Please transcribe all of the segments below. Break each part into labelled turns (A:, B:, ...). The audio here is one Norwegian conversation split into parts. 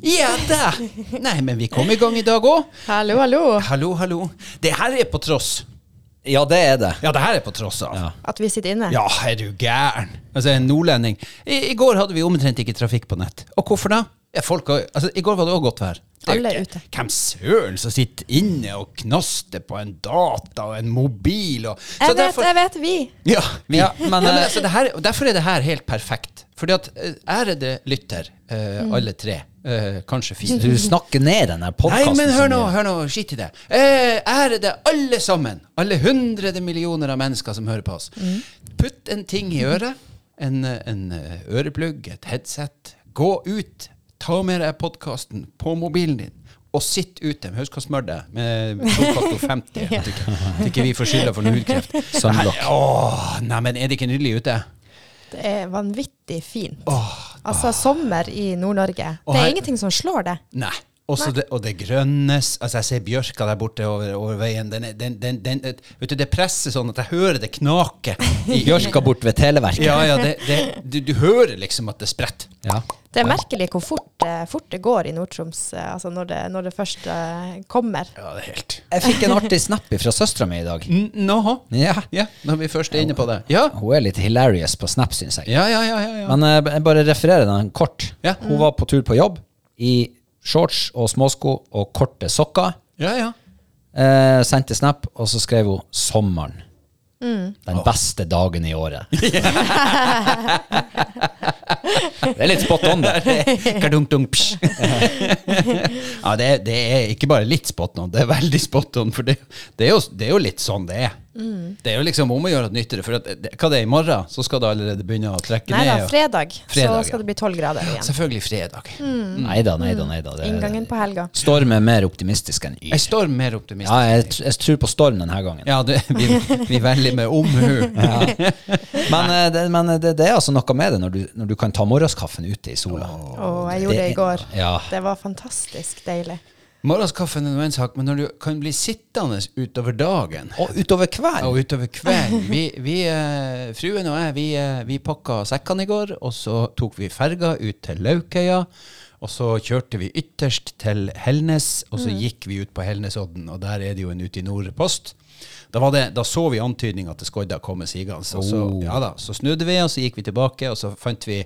A: Der! Nei, men vi kom i gang i dag òg.
B: Hallo, hallo.
A: Hallo, hallo. Det her er på tross.
C: Ja, det er det.
A: Ja, det her er på tross av. Ja,
B: At vi sitter inne.
A: er du gæren? Altså, en nordlending. I, I går hadde vi omtrent ikke trafikk på nett. Og hvorfor da? Ja, folk, har- altså, I går var det òg godt vær. Det er jo
B: Alle
A: ikke-
B: er ute.
A: Hvem søren som sitter inne og knaster på en data og en mobil og Så
B: Jeg vet,
A: derfor-
B: jeg vet, vi.
A: Ja, vi.
C: Ja, men,
A: Nei, men
C: eh,
A: altså, det her, derfor er det her helt perfekt. Fordi at eh, ærede lytter, eh,
B: Mm.
A: alle tre, eh, kanskje fire
C: Du snakker ned den der
A: Nei,
C: podkasten.
A: men hør nå, hør nå, skit i det. Eh, ærede alle sammen, alle hundrede millioner av mennesker som hører på oss. Putt en ting i øret, en, eh, en eh, øreplugg, et headset. Gå ut, ta med deg podkasten på mobilen din. Og sitt ute med hauskasmørdet med Solfaktor 50. ja. At ikke vi får skylda for noe hudkreft.
C: Sunblock.
A: Nei, Åh, nei, men er det ikke nydelig ute?
B: Det er vanvittig fint.
A: Åh,
B: Altså, sommer i Nord-Norge.
A: Og
B: Det
A: her-
B: er ingenting som slår det.
A: Nei. Også det, og det grønnes Altså, jeg ser bjørka der borte over, over veien. Den, er- den, den, den, et- vet du, det presser sånn at jeg hører det knake i
C: Bjørka bort ved Televerket.
A: Ja, ja, det, det, du, du hører liksom at det spretter.
C: Ja.
B: Det er merkelig hvor fort, eh, fort det går i Nord-Troms eh, altså når, det- når det først eh, kommer.
A: Ja, det er helt
C: Jeg fikk en artig snap fra søstera mi i dag.
A: Nå,
C: Ja.
A: ja, når vi først er inne på det. Ja,
C: Hun er litt hilarious på snap, syns jeg.
A: ja, ja. ja, ja, ja.
C: Men eh, jeg bare refererer den kort.
A: Ja.
C: Hun var på tur på jobb i shorts og småsko og korte sokker.
A: ja, ja.
C: Eh, sendte snap, og så skrev hun 'sommeren'. Den beste dagen i året. det er litt spot on, det.
A: Kadunk-dunk, psj. ja, det, er- det er ikke bare litt spot on, det er veldig spot on. For det, det, er, jo, det er jo litt sånn det er. Det er jo liksom om å gjøre at nyttere. For at, det, hva det er i morgen, så skal det allerede begynne å trekke
B: Nei
A: ned.
B: da,
A: og-
B: fredag,
A: Fredag,
B: så skal
A: ja.
B: det bli tolv grader igjen.
A: Selvfølgelig fredag.
C: Nei da, nei da, nei da.
B: Inngangen på helga.
C: Storm er mer optimistisk enn
A: Jeg
C: yr.
A: står mer optimistisk.
C: Ja, jeg, tr- jeg tror på storm denne gangen.
A: Ja, det, vi, vi velger med omhu.
C: Men, eh, det, men det, det er altså noe med det når du, når du kan ta morgenskaffen ute i sola.
B: Og jeg gjorde det i går.
C: Ja.
B: Det var fantastisk deilig.
A: Morgenskaffen er nå en sak, men når du kan bli sittende utover dagen
C: Og utover kvelden.
A: og utover kvelden vi, vi, eh, Fruen og jeg vi, eh, vi pakka sekkene i går, og så tok vi ferga ut til Laukøya. Og så kjørte vi ytterst til Helnes, og så gikk vi ut på Helnesodden. Og der er det jo en Ute i nord-post. Da, var det, da så vi antydning at det skodda komme sigende. Så, så, ja da, så snudde vi, og så gikk vi tilbake, og så fant vi,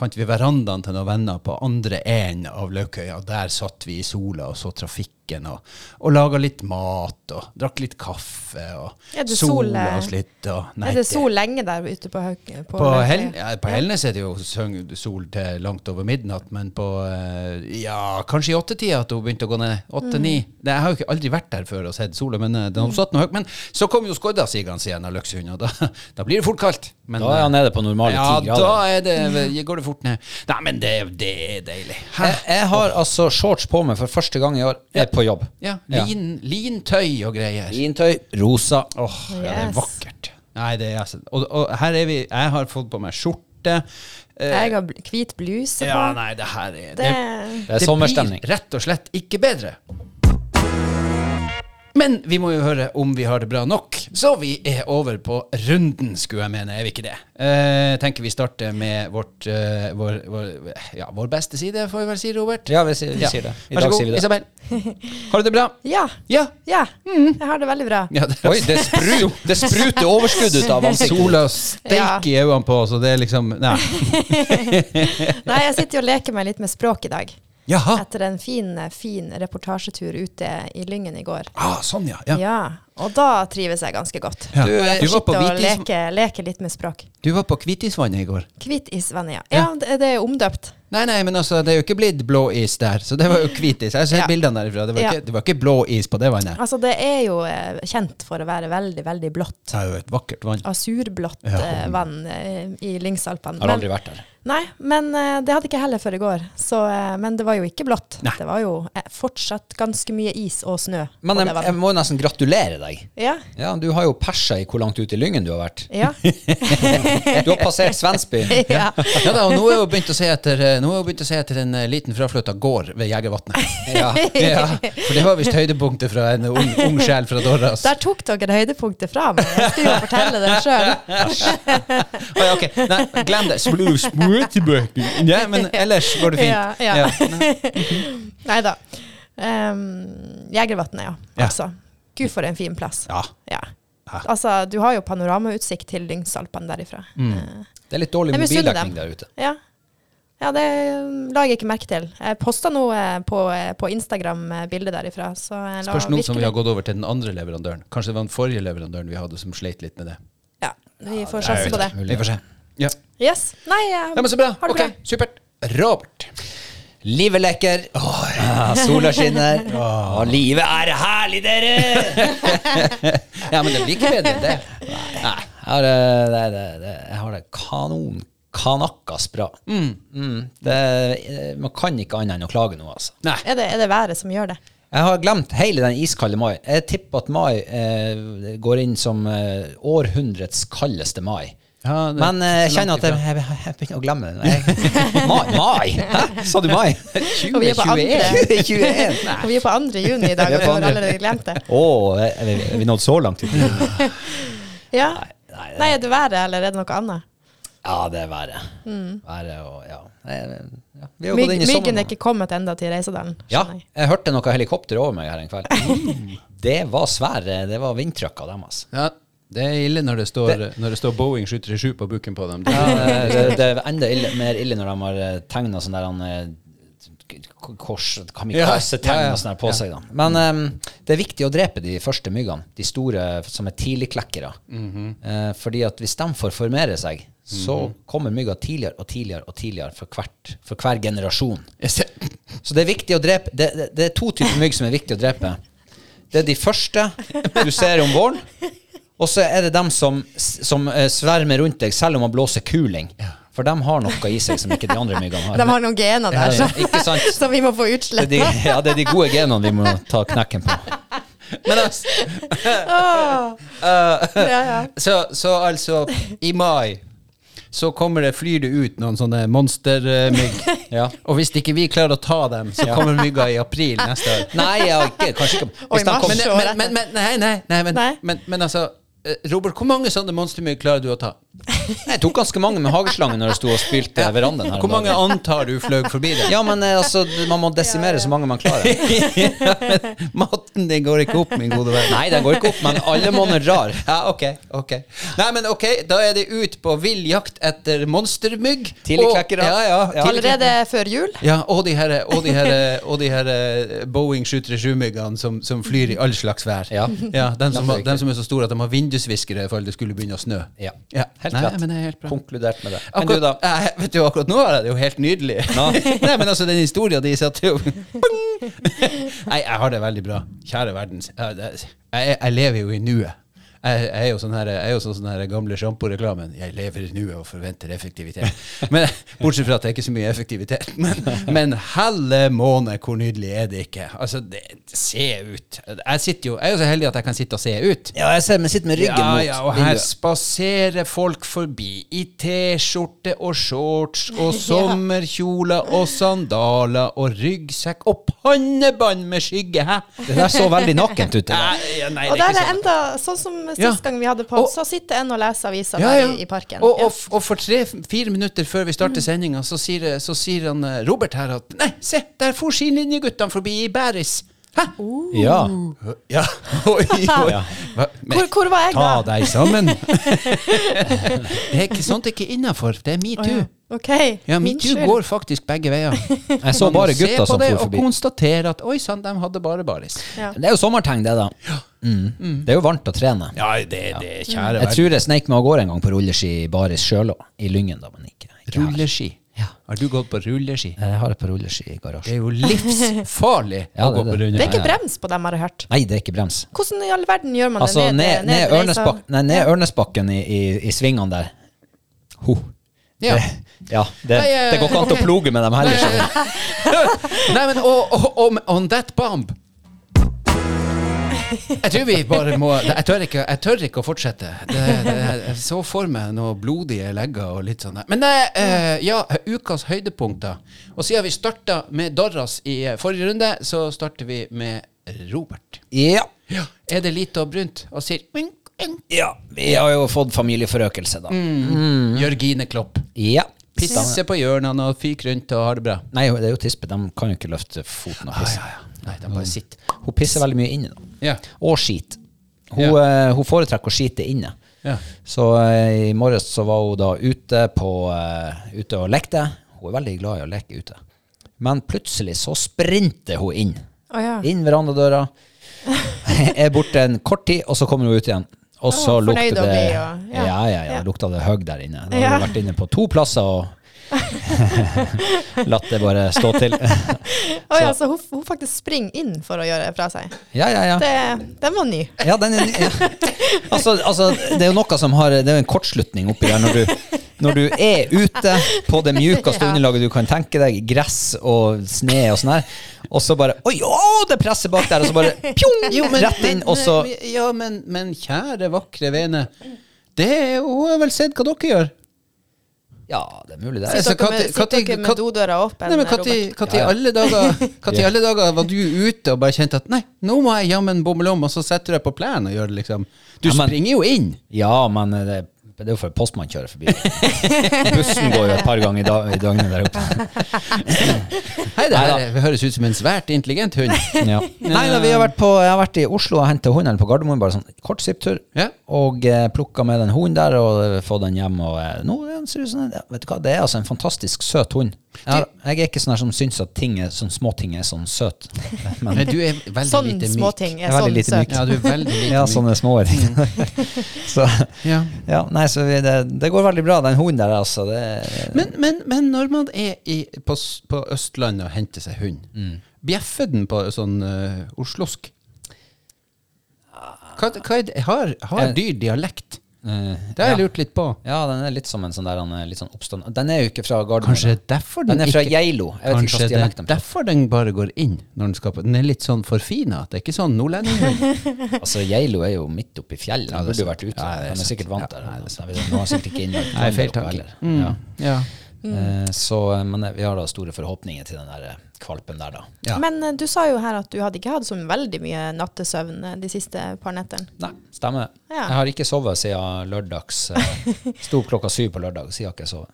A: fant vi verandaen til noen venner på andre enden av Laukøya. Der satt vi i sola og så trafikken, og, og laga litt mat, og drakk litt kaffe, og
B: Er det sol,
A: sola
B: eh,
A: oss litt. Og,
B: er det sol lenge der ute på Haug... På,
A: På,
B: Løkøya?
A: Hel ja, på Helnes er det jo søng- sol til langt over midnatt, men på eh, ja, kanskje i åttetida at hun begynte å gå ned. Åtte-ni.
B: Mm.
A: Nei, Jeg har jo ikke aldri vært der før og sett sola, men eh, den har satt noe høyt. Men så kom jo skodda sigende igjen av Løksund, og da, da blir det fort kaldt. Men, eh,
C: Da er han nede på normale
A: ja,
C: ti
A: da
C: grader.
A: er det, eh, går det fort ned. Nei, men det, det er deilig. Hæ?
C: Jeg, jeg har altså shorts på meg for første gang i år. Jeg er på jobb.
A: Ja, lin, lintøy og greier.
C: Lintøy, rosa.
A: Åh, ja, det er
B: Yes.
A: vakkert. Nei, det er altså og, og her er vi Jeg har fått på meg skjorte. Eh,
B: Jeg har bl- hvit bluse på.
A: ja, nei, det her er
B: det,
C: Det er sommerstemning.
A: blir rett og slett ikke bedre. Men vi må jo høre om vi har det bra nok, så vi er over på runden, skulle jeg mene. Er vi ikke det? Eh, tenker vi starter med vårt, eh, vår, vår, ja, vår beste side, får vi vel si, Robert?
C: Ja, vi sier, vi
A: Ja.
C: sier det. I
A: Vær
C: dag
A: så god,
C: sier vi det.
A: Isabel. Har du det bra?
B: ja.
A: Ja.
B: Ja.
A: Mm.
B: Jeg har det veldig bra.
A: ja det, altså-
C: Oi, det, spru, det spruter overskudd ut av ansiktet.
A: Sola steiker i øynene på oss, og det er liksom Nei.
B: Nei, jeg sitter jo og leker meg litt med språk i dag.
A: Jaha.
B: Etter en fin, eh, fin reportasjetur ute i Lyngen i går.
A: Ah, sånn, ja.
B: Ja.
A: ja.
B: Og da trives jeg ganske godt.
A: Ja.
C: Du, eh,
A: Du, var på
B: Sitte og
A: Hvitis-
B: leke, leke litt med språk.
A: du var på Hvitisvannet i går.
B: Kvittisvania. Ja, det, det er omdøpt.
A: Nei, nei, men altså, det er jo ikke blitt blå is der, så det var jo hvitis. Jeg har sett
B: Ja.
A: bildene derifra. Det var,
B: Ja.
A: ikke, det var ikke blå is på det vannet.
B: Altså, det er jo eh, kjent for å være veldig, veldig blått.
A: Det er jo et vakkert vann.
B: Asurblått
A: Ja.
B: eh, vann eh, i Lyngsalpene.
C: Har
B: Men-
C: aldri vært der.
B: Nei, men eh, det hadde ikke jeg heller før i går. Så, eh, men det var jo ikke blått.
A: Nei.
B: Det var jo eh, fortsatt ganske mye is og snø.
C: Men
B: og
C: jeg,
B: det var-
C: jeg må jo nesten gratulere deg.
B: ja,
C: Ja, Du har jo persa i hvor langt ut i Lyngen du har vært.
B: ja.
C: Du har passert Svensby.
B: ja.
A: Ja da, og nå er hun begynt å se etter eh, nå har hun begynt å se etter en eh, liten fraflytta gård ved Jegervatnet.
C: Ja.
A: ja, for det var visst høydepunktet fra en ung, ung sjel fra altså. Dorras.
B: Der tok dere høydepunktet fra meg. Jeg skulle jo fortelle det sjøl.
A: Oi, ok, Nei, glem det. Smooth, smooth tilbake. Ja, men ellers går det fint.
B: Ja, ja.
A: Nei.
B: Nei da. Ehm, Jegervatnet, ja.
A: Ja.
B: Altså. Gud, for en fin plass.
A: ja.
B: Ja.
A: Ja.
B: Altså, du har jo panoramautsikt til Lyngsalpene derifra.
A: Mm.
B: Eh,
C: Det er litt dårlig
B: Jeg misunner
C: mobildekning
B: dem.
C: der ute.
B: Ja. ja, det eh, la jeg ikke merke til. Jeg posta noe på, eh, på Instagram eh, bilde derifra. Så jeg la
A: Spørs nå som vi
B: virkelig-
A: har gått over til den andre leverandøren. Kanskje det var den forrige leverandøren vi hadde som sleit litt med det.
B: Ja, vi får sjanse på det.
A: Vi får se. Ja.
B: Yes. Nei, eh,
A: Nei, men så bra.
B: Har det
A: Ok, supert. Robert.
C: Livet lekker, Ah, sola skinner, og livet er herlig, dere!
A: Ja, men det blir ikke bedre enn det.
C: Nei, jeg har eh, det, det, det, jeg har det kanon, kanakkas bra. Mm, det, eh, man kan ikke annet enn å klage nå, altså.
A: Nei.
B: Er det, er det været som gjør det?
C: Jeg har glemt hele den iskalde mai. Jeg tipper at mai eh, går inn som eh, århundrets kaldeste mai.
A: Ja, det-
C: Men eh, jeg
A: så
C: kjenner
A: langt
C: at jeg, jeg, jeg begynner å glemme den. Jeg, mai? mai? Hæ? Sa du mai?
B: Og vi er på
C: 2021. 2021. Nei.
B: Og vi er på 2. juni i dag,
C: Vi er
B: og
C: på
B: vi har
C: andre.
B: allerede glemt det.
C: Å, er vi- er vi nådd så langt? ut?
B: Ja.
C: Nei, det-
B: Nei, er det været, eller er det noe annet?
C: Ja, det er været. Været og ja. Nei, ja. Vi har gått
B: Myg-
C: inn
B: Myggen
C: i sommeren.
B: Mm. er ikke kommet enda til Reisedalen.
C: Ja,
B: skjønner jeg.
C: jeg hørte noe helikopter over meg her en kveld. Det var svære, det var vindtrykka dem, altså.
A: Ja, det er ille når det står, når det står Boeing 737 på buken på dem. Det,
C: Ja, det, det er enda ille, mer ille når de har tegna sånn der han eh, k- kors, kamikaze-tegn
A: Ja, ja, ja.
C: og sånn der på seg. Da. Mm. Men em, det er viktig å drepe de første myggene, de store som er tidligklekkere. Eh, fordi at hvis de får formere seg, så kommer mygga tidligere og tidligere og tidligere for, hvert, for hver generasjon.
A: Jeg ser-
C: Så det er viktig å drepe det, det, det er to typer mygg som er viktig å drepe. Det er de første du ser om våren, og så er det dem som, som eh, svermer rundt deg selv om man blåser kuling. For dem har noe i seg som ikke de andre myggene har.
B: De har noen gener der
C: Ja,
B: som-
C: ikke sant?
B: som vi må få
C: Det er, de,
B: utsletta.
C: ja, det er de gode genene vi må ta knekken på.
A: Men altså,
C: Eh,
B: Ja, ja.
A: så, så altså, i mai så kommer det, flyr det ut noen sånne monstermygg.
C: Ja.
A: Og hvis ikke vi klarer å ta dem, så kommer mygga i april neste år.
C: Nei, jeg har ikke, kanskje ikke
B: Og i
C: Hvis de
B: mars.
C: kom,
A: Men,
B: Forstår
A: men, men, men nei, nei, nei, men,
B: Nei?
A: Men, men altså eh, Robert, hvor mange sånne monstermygg klarer du å ta?
C: Jeg tok ganske mange med hageslange når jeg sto og spilte verandaen her. om
A: Hvor mange
C: dagen.
A: antar du fløy forbi det?
C: Ja, men eh, altså, man må desimere så mange man klarer.
A: Matten din går ikke opp, min gode venn.
C: Nei, den går ikke opp, men alle måneder rar.
A: Ja, ok, ok. Nei, men ok, da er det ut på vill jakt etter monstermygg.
C: Tidligklekkere.
A: Og- Ja, ja,
C: Ja.
A: tidligklekkere.
B: Allerede før jul?
A: Ja, og de her, og de her, og de her eh, Boeing 737-myggene som, som flyr i all slags vær.
C: Ja.
A: dem, som, har-
C: riktig.
A: dem som er så store at de har vindusviskere i fall det skulle begynne å snø.
C: Ja.
A: Ja.
C: Helt
A: Nei,
C: rett.
A: men det er helt bra.
C: Konkludert med det. Men
A: Akkurat,
C: du, da?
A: Eh, vet du, akkurat nå er det jo helt nydelig. Nei, men altså, den historien de satte jo Pung! Nei, jeg har det veldig bra. Kjære verdens. Jeg, jeg, jeg lever jo i nuet. Jeg, jeg er jo sånn her, jeg er jo sånn sånn her gamle sjamporeklamen. Jeg lever i nuet og forventer effektivitet. Men, bortsett fra at det er ikke så mye effektivitet. Men, men helle måne, hvor nydelig er det ikke? Altså, det, se ut. Jeg, sitter jo, jeg er jo så heldig at jeg kan sitte og se ut.
C: Ja, jeg ser, men sitter med ryggen
A: Ja,
C: mot
A: ja, og her
C: vinduet.
A: spaserer folk forbi i T-skjorte og shorts og sommerkjoler og sandaler og ryggsekk og pannebånd med skygge, hæ?
C: Det der så veldig nakent ut. i dag.
A: Nei, ja, nei,
B: Og
A: det
B: der
A: er
B: er
A: ikke sånn.
B: enda, sånn som
A: Ja.
B: sist gang vi hadde på,
A: Og-
B: så sitter en og leser aviser
A: Ja, ja.
B: der i, i parken.
A: Og, og,
B: ja. Mm.
A: og for tre-fire minutter før vi starter sendinga, så, sier- så sier han eh, Robert her at Nei, se, der for skilinjeguttene forbi i bæris. Hæ?
B: Oh.
C: Ja.
A: Ja. Oi, oi.
C: Ja.
A: Hva- men-
B: Hvor, hvor var jeg
A: Ta
B: da?
A: deg sammen. det er ikke sånt er ikke innafor. Det er metoo.
B: Ok,
A: Ja, metoo
B: unnskyld.
A: går faktisk begge veier.
C: Jeg så
A: Man må
C: bare
A: se på
C: gutter som
A: det
C: for
A: Og
C: forbi.
A: konstatere at oi sann, de hadde bare baris.
B: Ja.
C: Det er jo sommertegn, det, da. Mm. Det er jo varmt å trene.
A: Ja, det, det er kjære
C: Jeg tror jeg sneik meg av gårde en gang på rulleski i baris sjøl òg. I Lyngen, da, men ikke, ikke her.
A: Rulleski. Har du gått på rulleski?
C: Jeg har et par rulleski i
A: Det
C: garasjen.
A: er jo livsfarlig
C: Ja,
A: å
C: det
A: gå på
C: er det.
B: Det er
A: rulleski.
B: ikke brems på dem, har jeg hørt.
C: Nei, det er ikke brems.
B: Hvordan i liksom- all verden gjør man
C: Altså,
B: det?
C: ned, ned,
B: reisa?
C: Ørnesbak, nei, ned Ørnesbakken i, i, i svingene der. Ho.
A: Ja.
C: Det, ja, det,
A: Nei, eh,
C: det går ikke an til å ploge med dem heller. skjønner du.
A: Nei, men og, og, om- on that bomb Jeg tror vi bare må Jeg tør ikke, jeg tør ikke å fortsette. Det, det, jeg så for meg noen blodige legger og litt sånn. der. Men eh, eh, ja, ukas høydepunkter. Og siden vi starta med Dorras i eh, forrige runde, så starter vi med Robert.
C: Ja.
A: Ja. Er det lite og brunt? Og sier wink, wink.
C: ja. Vi har jo fått familieforøkelse,
A: Mm.
C: da.
A: Jørgine Klopp.
C: Ja. Piss.
A: Pisser på hjørnene og fyker rundt og har det bra.
C: Nei, det er jo tispe. De kan jo ikke løfte foten og pisse.
A: Nei, de bare sitter.
C: Hun pisser veldig mye inne, da.
A: Ja.
C: Og skit. Hun, eh, hun foretrekker å skite inne.
A: Ja.
C: Så eh, i morges så var hun da ute, på, eh, ute og lekte. Hun er veldig glad i å leke ute. Men plutselig så sprinter hun inn.
B: Å ja.
C: Inn verandadøra. er borte en kort tid, og så kommer hun ut igjen. Og så
B: fornøyd
C: lukter
B: å
C: det
B: bli,
C: ja.
B: og-
C: Ja,
B: ja.
C: ja, lukta det høgg der inne. Da har
B: Ja.
C: hun vært inne på to plasser og latt det bare stå til.
B: Å ja, så hun, hun faktisk springer inn for å gjøre fra seg.
C: ja, ja, ja.
B: Det, den var ny.
C: Ja, den er ny. Ja. Altså, altså, det er jo noe som har Det er jo en kortslutning oppi der når du, når du er ute på det mjukeste
B: Ja.
C: underlaget du kan tenke deg, gress og sne og sånn her, og så bare Oi, å, det presser bak der, og så bare pjong, rett inn, og så
A: men- Ja, men, men kjære, vakre vene. Det er jo hun har vel sett hva dere gjør.
C: Ja, det er mulig, det.
A: Så
B: Sitter dere med,
A: Kati-
B: sitter
A: Kati-
B: dere med
A: Kati-
B: dodøra åpen?
A: Nei, men Når
B: Robert?
A: i
C: Ja, ja.
A: alle dager Kati,
C: Ja.
A: alle dager var du ute og bare kjente at Nei, nå må jeg jammen bomme lom, og så setter du deg på plenen og gjør det, liksom. Du
C: Ja, men-
A: springer jo inn.
C: Ja, men eh, det, det er jo for postmann kjører forbi. Bussen går jo et par ganger i, dag, i døgnet der oppe.
A: Hei, det
C: Neida.
A: her det høres ut som en svært intelligent hund.
C: Ja. Nei, da, vi har vært på, jeg har vært i Oslo og henta hunden på Gardermoen, bare sånn kort sipptur.
A: Ja.
C: Og eh, plukka med den hunden der og eh, fått den hjem. Og eh, nå er den seriøs. den- ja, Vet du hva, det er altså en fantastisk søt hund. Jeg, har, jeg er ikke sånn her som syns at ting er, sånn småting er sånn søt. Men
A: Men du er veldig
B: Sånn
A: lite myk.
B: småting
C: Jeg
B: er
C: er veldig
B: sånn
C: lite myk.
B: søt.
A: Ja, du er veldig lite
C: ja, sånn
A: myk.
C: sånne små ting. Så
A: Ja.
C: ja, nei, så vi, det, det går veldig bra, den hunden der, altså. Det,
A: Men, men, men når man er i, på, s- på Østlandet og henter seg hund, bjeffer den på sånn eh, oslosk? Hva, hva er det? Har, har
C: Jeg-
A: dyr dialekt?
C: eh,
A: Det har
C: ja.
A: jeg lurt litt på.
C: Ja, den er litt som en sånn der han er litt sånn oppstand... Den er jo ikke fra Gardermoen.
A: Kanskje det er derfor den,
C: Den er fra
A: ikke
C: Geilo. Jeg vet ikke
A: Kanskje
C: hva
A: det
C: dialekt
A: er
C: den er.
A: derfor den bare går inn når den skal på Den er litt sånn forfina. Det er ikke sånn nordlending.
C: Altså, Geilo er jo midt oppi fjellet. Den burde jo vært ute.
A: Ja, det er
C: den er
A: sant.
C: sikkert vant der.
A: Ja,
C: Ja, den har sikkert ikke innlagt
A: Nei, feil
C: oppe
A: tanke.
C: heller.
A: Mm.
C: Ja.
A: Ja.
C: Eh, Så, eh, men eh, vi har da store forhåpninger til den der eh, kvalpen der, da.
A: Ja.
B: Men eh, du sa jo her at du hadde ikke hatt så veldig mye nattesøvn eh, de siste par nettene.
C: Nei, stemmer det.
B: Ja.
C: Jeg har ikke sovet siden lørdags. eh, Sto opp klokka syv på lørdag, siden jeg ikke sovet.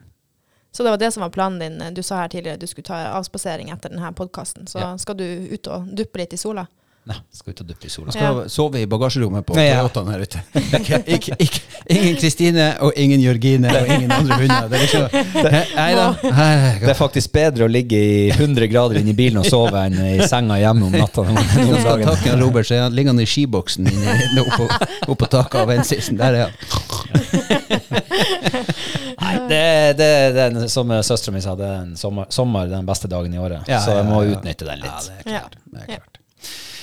B: Så det var det som var planen din. eh, Du sa her tidligere at du skulle ta avspasering etter denne podkasten. Så
C: Ja.
B: skal du ut og duppe litt i sola.
C: Nei, skal ut og duppe i sola.
A: Man skal sove i bagasjerommet på
C: Ja.
A: Toyotaen her ute. Ikke, ikke, ikke, ingen Kristine og ingen Jørgine og ingen andre hunder. Det er liksom- ikke, nei da. Nei,
C: Det er faktisk bedre å ligge i 100 grader inne i bilen og sove enn i senga hjemme om natta.
A: Noen skal ta takken av Robert, så er han liggende i skiboksen inne i- nå oppå opp på taket av N-sisen. Der er han.
C: Nei, det, det, det er en- som søstera mi sa, det er en sommer, sommer den beste dagen i året.
A: Ja,
C: så jeg
A: ja,
C: må
A: ja.
C: utnytte den litt.
A: det
B: Ja.
A: Det er klart.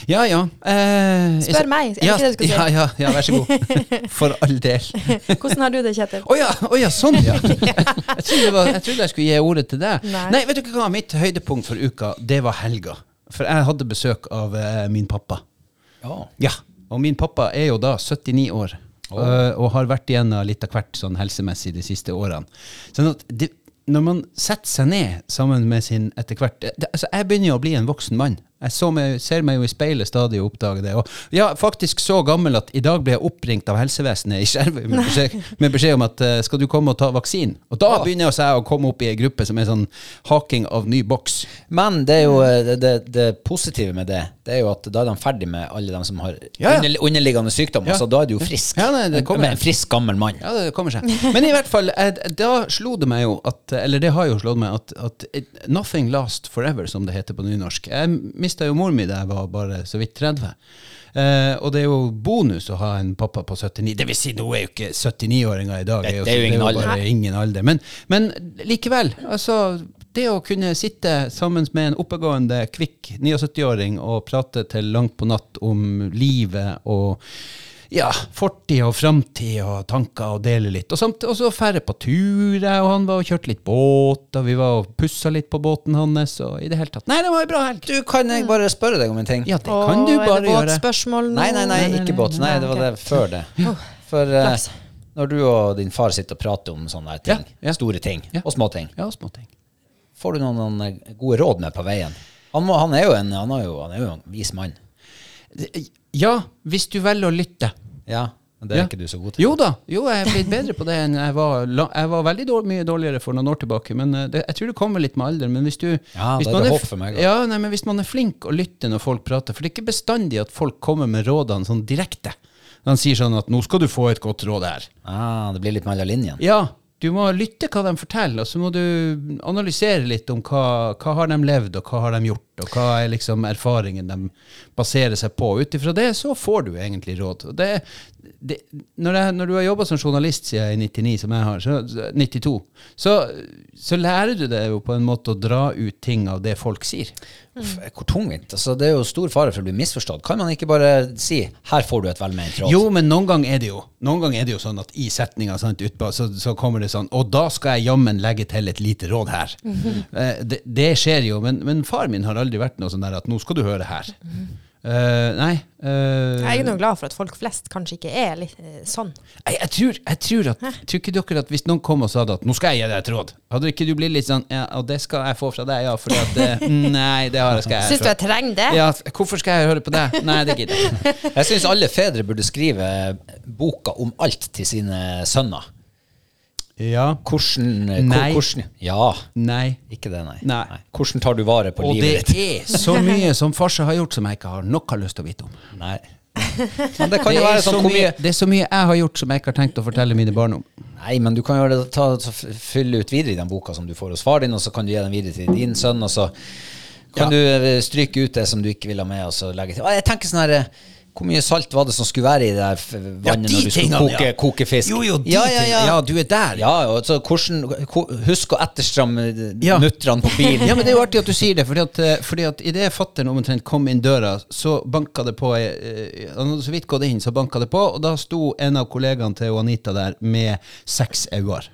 A: Ja ja. Eh,
B: Spør meg, er det
A: ja,
B: ikke det du skal si?
A: Ja, ja, ja, vær så god. For all del.
B: Hvordan har du det, Kjetil?
A: Å ja, å ja, sånn ja. jeg, trodde det var, jeg trodde jeg skulle gi ordet til deg. Nei.
B: Nei.
A: vet du hva, mitt høydepunkt for uka, det var helga. For jeg hadde besøk av eh, min pappa.
C: Ja.
A: Ja, og min pappa er jo da 79 år.
C: Åh.
A: øh, Og har vært igjennom litt av hvert sånn helsemessig de siste årene. Sånn at det, når man setter seg ned sammen med sin etter hvert det, altså Jeg begynner jo å bli en voksen mann. Jeg så meg, ser meg jo i speilet stadig og oppdager det. Og ja, faktisk så gammel at i dag ble jeg oppringt av helsevesenet i Skjervøy med, beskjed- med beskjed om at eh, skal du komme og ta vaksinen? Og da begynner altså jeg å komme opp i ei gruppe som er sånn haking av ny boks.
C: Men det, er jo, eh, det, det, det positive med det, det er jo at da er de ferdig med alle de som har
A: Ja, ja.
C: underli- underliggende sykdommer,
A: Ja.
C: så da er du jo frisk.
A: Ja, nei, det kommer.
C: Med en frisk, gammel mann.
A: Ja, det kommer seg. Men i hvert fall, eh, da slo det meg jo at eh, Eller det har jo slått meg at, at it- nothing lasts forever, som det heter på nynorsk. Jeg mista jo mor mi da jeg var bare så vidt 30. Eh, og det er jo bonus å ha en pappa på 79. Det vil si, nå er jo ikke 79-åringer i dag.
C: Det- det er jo ingen alder.
A: bare ingen alder. Men, men likevel. Altså, det å kunne sitte sammen med en oppegående, kvikk 79-åring og prate til langt på natt om livet og ja, fortid og framtid og tanker og dele litt. Og, samt, og så færre på tur, jeg og han var og kjørte litt båt, og vi var og pussa litt på båten hans, og i det hele tatt. Nei, det var ei bra helg!
C: Du, kan jeg bare spørre deg om en ting?
A: Ja, det kan du
B: er
A: bare
B: det
A: gjøre.
B: båtspørsmål nå?
C: Nei, nei, nei, ikke båt. Nei, det var det før det.
A: Oh,
C: For eh,
B: Flaks.
C: når du og din far sitter og prater om sånne der ting,
A: Ja, ja.
C: store ting
A: Ja.
C: og små ting,
A: Ja, småting.
C: får du noen, noen eh, gode råd med på veien? Han, må, han, er jo en, han, er jo, han er jo en vis mann.
A: Det- Ja, hvis du velger å lytte.
C: Ja, men det er
A: Ja.
C: ikke du så god til.
A: Jo da, jo, jeg er blitt bedre på det enn jeg var. la- Jeg var veldig dårlig, mye dårligere for noen år tilbake, men eh, det, jeg tror det kommer litt med alderen. Men hvis du
C: Ja,
A: hvis
C: det er
A: man
C: det
A: er
C: håp
A: f-
C: for meg, da.
A: Ja, nei, men hvis man er flink å lytte når folk prater, for det er ikke bestandig at folk kommer med rådene sånn direkte. De sier sånn at 'nå skal du få et godt råd her'.
C: Ah, det blir litt mellom linjene.
A: Ja, du må lytte hva de forteller, og så må du analysere litt om hva, hva har de levd, og hva har de gjort, og hva er liksom erfaringen de baserer seg på. Ut ifra det så får du egentlig råd. Og det, det, når, jeg, når du har jobba som journalist siden jeg er 99, som jeg har, så, 92, så, så lærer du deg jo på en måte å dra ut ting av det folk sier.
C: Uff, Hvor tungvint. Altså, det er jo stor fare for å bli misforstått. Kan man ikke bare si 'her får du et velment råd'?
A: Jo, men noen gang er det jo Noen gang er det jo sånn at i setninga sant, utpå, så, så kommer det sånn Og da skal jeg jammen legge til et lite råd her. Eh, det, det skjer jo, men, men far min har aldri vært noe sånn der at nå skal du høre her. Eh, nei. eh,
B: Jeg er nå glad for at folk flest kanskje ikke er litt eh, sånn.
A: nei, jeg, tror, jeg tror at Tror ikke dere at hvis noen kom og sa det at nå skal jeg gi deg et råd, hadde ikke du blitt litt sånn ja, og det skal jeg få fra deg, ja, for at eh, Nei, det har jeg skal jeg
B: Syns du jeg trenger det?
A: ja, hvorfor skal jeg høre på deg? Nei, det gidder jeg ikke.
C: Jeg syns alle fedre burde skrive boka om alt til sine sønner.
A: Ja.
C: Hvordan, hvor-
A: Nei.
C: hvordan Ja,
A: Nei.
C: ikke det, nei.
A: Nei.
C: Hvordan tar du vare på
A: Og
C: livet
A: det
C: ditt?
A: er så mye som farse har gjort som jeg ikke har nok har lyst til å vite om.
C: Nei. Men det kan
A: Det
C: jo
A: er,
C: være
A: så
C: sånn hvor
A: mye,
C: mye
A: det er så mye jeg har gjort som jeg ikke har tenkt å fortelle mine barn om.
C: Nei, men du kan jo det- ta, så f- fylle ut videre i den boka som du får hos far din, og så kan du gi den videre til din sønn, og så kan du eh, stryke ut det som du ikke vil ha med, og så legge til. Ah, Jeg tenker sånn her eh, hvor mye salt var det som skulle være i det her f- vannet når du skulle koke, koke fisk? ja, ja, ja.
A: ja, du er der.
C: Ja, og så hvordan, ko- husk å etterstramme eh,
A: Ja.
C: nøtterne på bilen.
A: Ja, men Det er jo artig at du sier det, fordi at, eh, fordi at idet fatter'n omtrent kom inn døra, så banka det på eh, Han hadde så vidt gått inn, så banka det på, og da sto en av kollegaene til Anita der med seks øyne.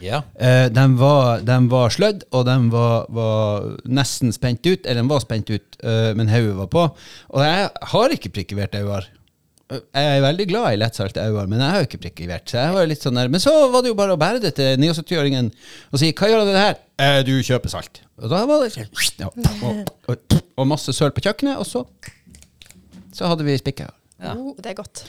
C: Ja.
A: Eh, de var, de var slødd, og de var, var nesten spent ut. Eller de var spent ut, eh, men hodet var på. Og jeg har ikke prikkivert øyne. Jeg er veldig glad i lettsalte øyne, men jeg har jo ikke prikkivert. Så jeg var jo litt sånn der. Men så var det jo bare å bære det til 79-åringen og si 'hva gjør du med det her?' «Eh, 'Du kjøper salt'. Og da var det sånn, ja, og, og, og masse søl på kjøkkenet, og så, så hadde vi spikka.
B: Oh, det er godt.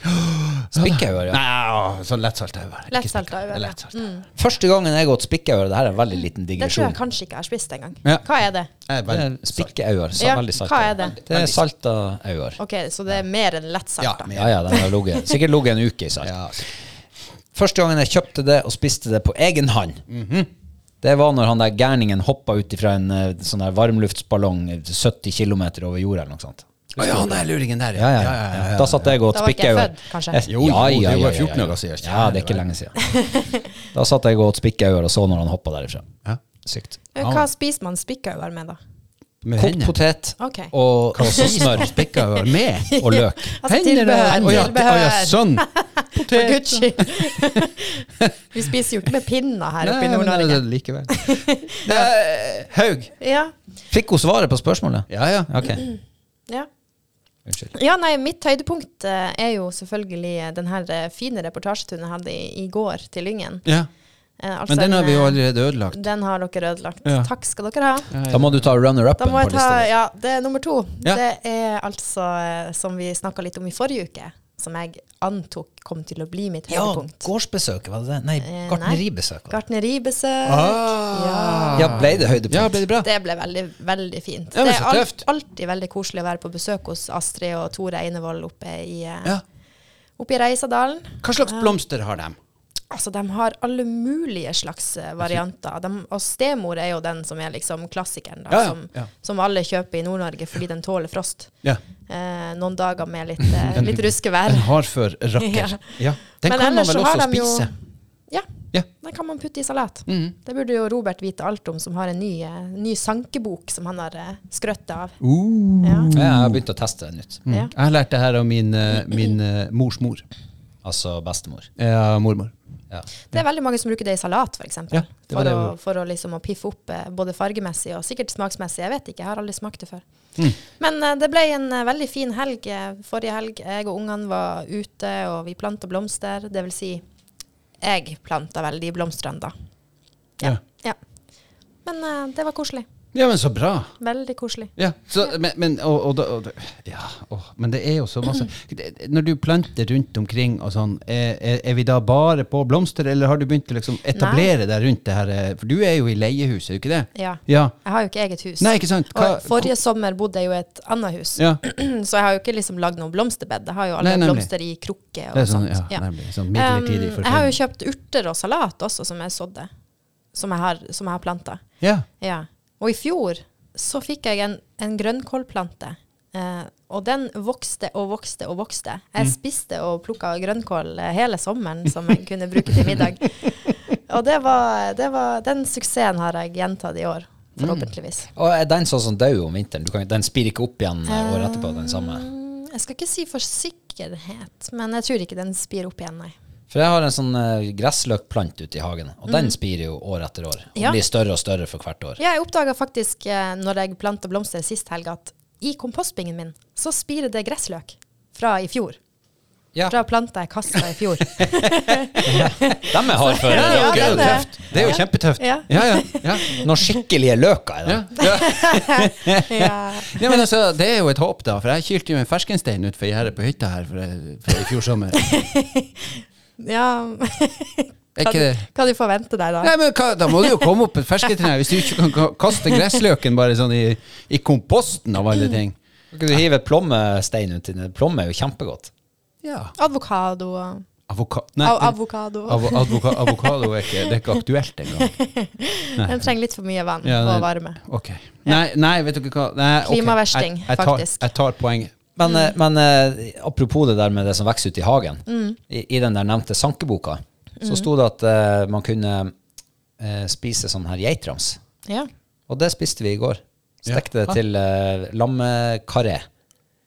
C: Spikkauer, ja.
A: Nei, ja, Mm. sånn lettsalte øyne. Ikke
B: Lettsalte
A: spikka,
B: øyne, ja.
A: lettsalte øyne.
C: Første gangen jeg åt spikkauer, det her er en veldig liten
B: Det tror
C: digresjon.
B: jeg kanskje ikke jeg har spist engang.
A: Ja.
B: Hva er det?
A: Jeg er
C: Det
A: veldig
C: er Spikkauer, så
B: Ja,
C: veldig salta.
B: hva er det?
C: Det er salta auer.
B: Ok, Så det er mer enn
A: Ja,
B: lettsalta?
A: men-
C: Ja, ja, den har ligget Sikkert ligget en uke i salt.
A: Ja.
C: Første gangen jeg kjøpte det og spiste det på egen hånd, det var når han der gærningen hoppa ut ifra en eh, sånn der varmluftsballong eh, 70 km over jorda eller noe sånt.
A: Å ja, han der luringen der,
C: Ja, ja, ja. Da satt jeg og
B: Da var ikke jeg
C: spikka
B: født, kanskje?
A: Jo, jo, det var 14 dager siden.
C: Ja, det er ikke lenge siden. Da satt jeg og spikka øyet og så når han hoppa derifra.
A: Ja.
C: Sykt.
B: Men Eh, Hva spiser man spikkauer med, da?
A: Med
C: Kokt potet
B: Ok.
C: og, og så smør
A: Spikka øl med.
C: og løk.
B: Altså,
A: Hender det-
B: tilbehør,
A: Å ja, det- å ja,
B: tilbehør.
A: sånn.
B: For guds skyld! Vi spiser jo ikke med pinner her oppe i
A: Nei, men det
B: Nord-Norge.
A: er det Likevel. Det er- Haug.
B: Ja,
C: Fikk hun svaret på spørsmålet?
A: Ja, ja.
C: Ok,
B: ja.
C: unnskyld.
B: Ja, nei, mitt høydepunkt eh, er jo selvfølgelig eh, den her eh, fine reportasjeturen jeg hadde i, i går til Lyngen.
A: ja.
B: Eh, altså
A: Men den har
B: en,
A: vi jo
B: eh,
A: allerede ødelagt.
B: Den har dere ødelagt.
A: Ja.
B: Takk skal dere ha.
A: Ja, ja.
C: Da må du ta
B: Da
C: runner-upen
B: må
C: på
B: jeg ta,
C: lista. di.
B: ja, det er nummer to.
A: Ja.
B: Det er altså, eh, som vi snakka litt om i forrige uke, som jeg antok kom til å bli mitt
C: Ja,
B: høydepunkt.
C: gårdsbesøk, var det det? Nei,
B: Eh, nei.
C: gartneribesøk. var det.
B: Gartneribesøk.
A: Ah.
C: Ja, ble det høydepunkt?
A: Ja, ble det bra?
B: Det ble veldig, veldig fint.
A: Ja, men
B: det er
A: så tøft.
B: alltid veldig koselig å være på besøk hos Astrid og Tore Einevold oppe i, eh,
A: Ja.
B: oppe i Reisadalen.
A: Hva slags blomster har de?
B: Altså, de har alle mulige slags eh, varianter. De, og stemor er jo den som er liksom klassikeren, da,
A: Ja, ja,
B: Som,
A: ja.
B: som alle kjøper i Nord-Norge fordi den tåler frost.
A: Ja.
B: Eh, noen dager med litt, eh, litt ruskevær.
A: En hardfør rakker.
B: Ja.
A: Ja. Den
B: Men
A: kan man
B: ellers
A: vel
B: så har
A: også
B: de jo-
A: spise?
B: Ja,
A: Ja.
B: Den kan man putte i salat.
A: Mhm.
B: Det burde jo Robert vite alt om, som har en ny, eh, ny sankebok som han har eh, skrøtt av. Ja.
C: Ja, jeg har begynt å teste det nytt.
A: Mm.
B: Ja.
A: Jeg har lært det her av min, eh, min eh, mors mor.
C: Altså bestemor.
A: Ja, mormor.
C: Ja.
B: Det er veldig mange som bruker det i salat, for eksempel.
A: Ja, det var
B: for,
A: det
B: å,
A: jeg
B: for å liksom å piffe opp eh, både fargemessig og sikkert smaksmessig. Jeg vet ikke, jeg har aldri smakt det før.
A: Mm.
B: Men eh, det ble en eh, veldig fin helg eh, forrige helg. Jeg og ungene var ute, og vi planta blomster. Det vil si, jeg planta vel de blomstene, da.
A: Ja.
B: Ja. Men eh, det var koselig.
A: ja, men så bra.
B: Veldig koselig.
A: Ja, så, men, men, og, og, da- og, da- ja åh, men det er jo så masse Det- Når du planter rundt omkring og sånn, er, er- er vi da bare på blomster, eller har du begynt å liksom etablere deg rundt det her? eh, For du er jo i leiehus, er du ikke det?
B: Ja.
A: Ja.
B: Jeg har jo ikke eget hus.
A: Nei, ikke sant? Hva-
B: og forrige sommer bodde jeg jo i et annet hus,
A: Ja.
B: så jeg har jo ikke liksom lagd noe blomsterbed. Jeg har jo alle
A: Nei, nemlig.
B: blomster i krukke og
A: Det er sånn,
B: sånt.
A: ja,
B: Ja.
A: nemlig. Sånn
B: Um,
A: midlertidig
B: jeg har jo
A: forfølgelse.
B: kjøpt urter og salat også, som jeg sådde. Som jeg har, som jeg har planta.
A: Ja.
B: Ja. Og i fjor så fikk jeg en, en grønnkålplante. Eh, og den vokste og vokste og vokste. Jeg
C: Mm.
B: spiste og plukka grønnkål eh, hele sommeren som jeg kunne bruke til middag. Og det var, det var, den suksessen har jeg gjentatt i år, forhåpentligvis.
C: Og er den sånn som dør om vinteren? Du kan, den spirer ikke opp igjen eh, året etterpå, den samme.
B: Mm, Jeg skal ikke si for sikkerhet, men jeg tror ikke den spir opp igjen, nei.
C: For jeg har en sånn eh, gressløkplant ute i hagen, og den spirer jo år etter år. Og
B: Mm. Ja.
C: blir større og større for hvert år.
B: Ja, jeg oppdaga faktisk eh, når jeg planta blomster sist helg, at i kompostbingen min så spirer det gressløk fra i fjor.
C: Ja,
B: Fra planta jeg kasta i fjor.
C: dem er hardføre.
B: Ja,
A: det er jo
B: den er-
A: tøft. Det er jo kjempetøft.
B: Ja.
A: Ja, ja. ja.
C: eh, Noen skikkelige løker er det.
A: ja. ja.
B: ja.
A: Ja, men altså, Det er jo et håp, da. For jeg kylte jo en ferskenstein utfor gjerdet på hytta her for, for i fjor sommer.
B: ja.
A: Er
B: Hva,
A: ikke det?
B: du- hva du forventer deg da?
A: Nei, men hva, Da må det jo komme opp et ferskentrær, hvis du ikke kan ka- kaste gressløken bare sånn i, i komposten av alle ting.
C: Kan ikke du hive et plommestein uti den? Plomme er jo kjempegodt.
A: Ja.
B: Avokado.
A: Avoka
B: Av, avokado.
A: avo- advoka avokado er ikke, det er ikke aktuelt engang.
B: Den trenger litt for mye vann
A: Ja,
B: og
A: nei.
B: varme.
A: Ok. Nei, nei, vet dere hva nei, ok.
B: Klimaversting,
A: Jeg- jeg tar-
B: faktisk.
A: Jeg tar poenget.
C: Men, eh, men eh, apropos det der med det som vokser ute i hagen. I, I den der nevnte sankeboka så sto det at eh, man kunne eh, spise sånn her geitrams.
B: Ja.
C: Og det spiste vi i går.
A: Ja.
C: Stekte
A: Ah.
C: det til uh, lammekaré.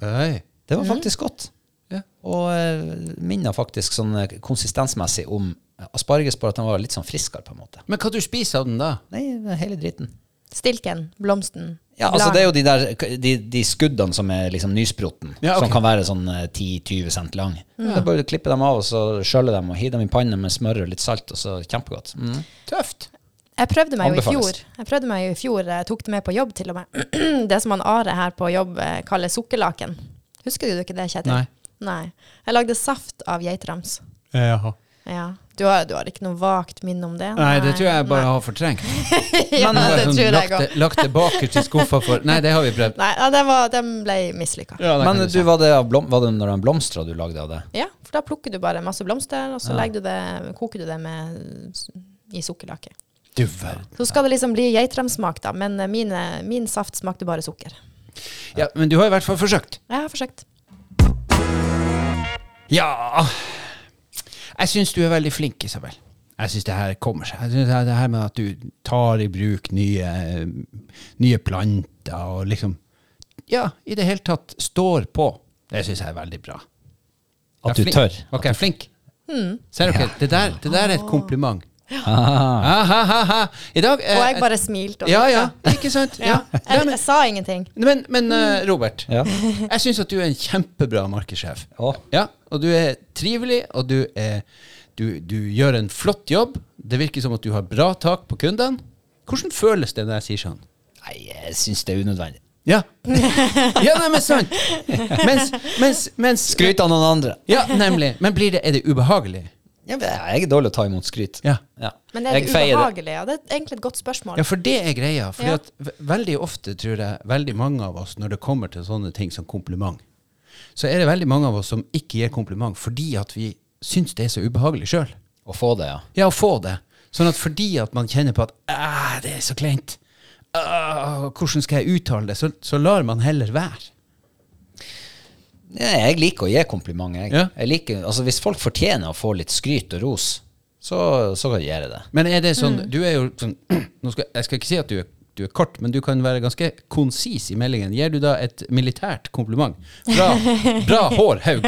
A: Oi.
C: Det var faktisk godt.
A: Ja.
C: Og uh, minner faktisk sånn eh, konsistensmessig om asparges, bare at den var litt sånn friskere, på en måte.
A: Men hva du spiser av den da?
C: Nei, det er hele driten.
B: Stilken, blomsten,
C: Ja, altså
B: bladene.
C: Det er jo de, der, de, de skuddene som er liksom nysprotten,
A: Ja, ok.
C: som kan være sånn eh, 10-20 cent lang.
B: Mm.
C: Det er bare å klippe dem av og så skjølle dem og hive dem i panna med smør og litt salt. og så Kjempegodt. Mm.
A: Tøft.
B: Jeg prøvde meg jo i
C: Anbefales.
B: fjor. Jeg prøvde meg jo i fjor, jeg tok det med på jobb til og med. Det som han Are her på jobb eh, kaller sukkerlaken. Husker du ikke det, Kjetil?
A: Nei.
B: Nei. Jeg lagde saft av geitrams.
A: Jaha.
B: Ja. Du, har, du har ikke noe vagt minne om det?
A: Nei, det tror jeg bare har fortrengt.
B: Nei. ja,
A: Bare
B: det
A: sånn
B: tror jeg
A: lagt,
B: òg.
A: det- lagt det bakerst i skuffa for Nei, det har vi prøvd.
B: Nei, ja, den, var, den ble mislykka. Ja.
A: det kan
C: Men
A: du
C: du,
A: si.
C: var, det av blom, var det når den blomstra du lagde av det?
B: for da plukker du bare masse blomster, og så legger du det, koker du det med, i sukkerlake.
A: Du verden.
B: Så skal det liksom bli geitramsmak, da, men eh, mine, min saft smakte bare sukker.
A: Ja, men du har i hvert fall forsøkt.
B: Jeg har forsøkt.
A: Ja Jeg syns du er veldig flink, Isabel. Jeg syns det her kommer seg. Jeg synes det her- det her med at du tar i bruk nye, eh, nye planter og liksom Ja, i det hele tatt står på. Det syns jeg er veldig bra.
C: At
A: Jeg
C: du
A: er
C: tør?
A: flink. Ok, jeg er flink.
B: Mm.
A: Ser dere? Det, der, det der er et kompliment. Ah,
C: Ah.
A: ha, ha, ha. I dag eh,
B: Og jeg bare smilte. og
A: Ja, ja.
B: nikket.
A: Ikke sant?
B: Ja. Mm.
A: Ja.
B: Jeg,
A: Nei,
B: jeg sa ingenting.
A: men men, men eh, Robert,
C: Ja.
A: jeg syns at du er en kjempebra markedssjef.
C: Å.
A: Ja, og du er trivelig, og du, er, du, du gjør en flott jobb. Det virker som at du har bra tak på kundene. Hvordan føles det når jeg sier sånn?
C: Nei, jeg syns det er unødvendig.
A: Ja, ja nei, men sant! Mens, mens, mens
C: Skryt av noen andre.
A: Ja, nemlig. Men blir det, er det ubehagelig?
C: Ja, men jeg er dårlig å ta imot skryt.
A: Ja.
B: Men det er
C: Jeg
B: litt
C: feier det.
B: ubehagelig, og det er egentlig et godt spørsmål.
A: Ja, for det er greia. Fordi
B: Ja.
A: at ve- veldig ofte, tror jeg, veldig mange av oss, når det kommer til sånne ting som kompliment, så er det veldig mange av oss som ikke gir kompliment fordi at vi syns det er så ubehagelig sjøl.
C: Å få det, ja.
A: Ja, å få det. Sånn at fordi at man kjenner på at «Æ, det er så kleint, Æ, hvordan skal jeg uttale det, så, så lar man heller være.
C: Nei, jeg liker å gi komplimenter. Jeg.
A: Ja.
C: Jeg liker, altså, hvis folk fortjener å få litt skryt og ros, så, så gjør jeg det.
A: Men er det sånn Du er jo sånn nå skal, Jeg skal ikke si at du er, du er kort, men du kan være ganske konsis i meldingen. Gir du da et militært kompliment? Bra, bra hår, Haug.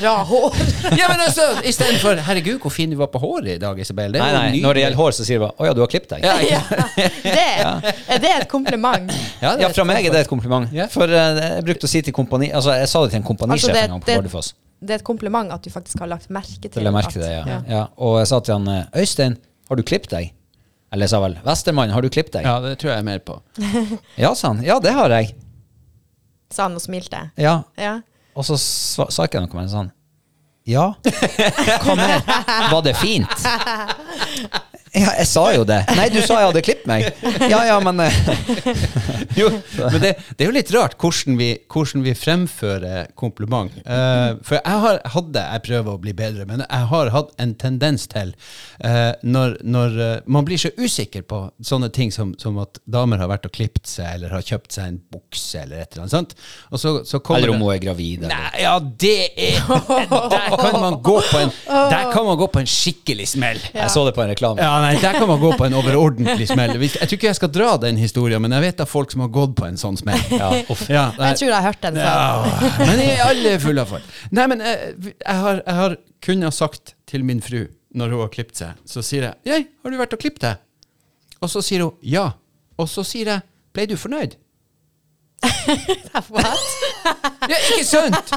B: Bra hår.
A: Ja, men altså, istedenfor 'herregud, hvor fin du var på håret i dag, Isabel'. Det er
C: Nei,
A: jo
C: nei,
A: nydelig.
C: når det gjelder hår, så sier du bare 'Å ja, du har klippet deg'.
A: Ja,
B: Ja, det, er det et kompliment?
C: Ja,
A: det er
C: fra meg er det et kompliment.
A: Ja.
C: For eh, jeg brukte å si til kompani Altså, jeg sa det til en
B: Altså,
C: kompanisjef
B: det-
C: en gang på
B: det-
C: Bardufoss.
B: Det er et kompliment at du faktisk har lagt merke til,
C: Til jeg merket
B: at-
C: det, ja. Ja. Og jeg sa til han eh, 'Øystein, har du klippet deg?' Eller jeg sa vel 'Vestermann, har du klippet deg?' Ja.
A: ja, det tror jeg er mer på.
C: sa han. 'Ja, det har jeg'.
B: Sa han og smilte.
C: Ja.
B: Ja.
C: Og så sa, sa ikke jeg noe, men sånn Ja. Hva mer? Var det fint? Ja, jeg sa jo det. Nei, du sa jeg hadde klippet meg. Ja, ja, men eh,
A: Jo, men det, det er jo litt rart hvordan vi, hvordan vi fremfører kompliment. Eh, for jeg har hadde, jeg prøver å bli bedre, men jeg har hatt en tendens til eh, når, når eh, man blir så usikker på sånne ting som, som at damer har vært og klippet seg, eller har kjøpt seg en bukse, eller et eller annet sånt. Og så, så kommer
C: Eller om
A: det-
C: hun er gravid. Eller.
A: Nei, ja, det er Der kan man gå på en, der kan man gå på en skikkelig smell.
C: Jeg så det på en reklame.
A: Ja, nei, Der kan man gå på en overordentlig smell. Jeg tror ikke jeg skal dra den historien, men jeg vet av folk som har gått på en sånn smell. Ja, uff. Ja, nei.
B: Jeg tror jeg har hørt den sånn.
A: ja, men jeg er alle fulle av folk. Nei, men jeg, jeg, har, jeg har kun har sagt til min fru, når hun har klippet seg, så sier jeg 'Jei, har du vært og klippet deg?' Og så sier hun 'ja'. Og så sier jeg 'Ble du fornøyd?'
B: What?
A: Ja, ikke sant?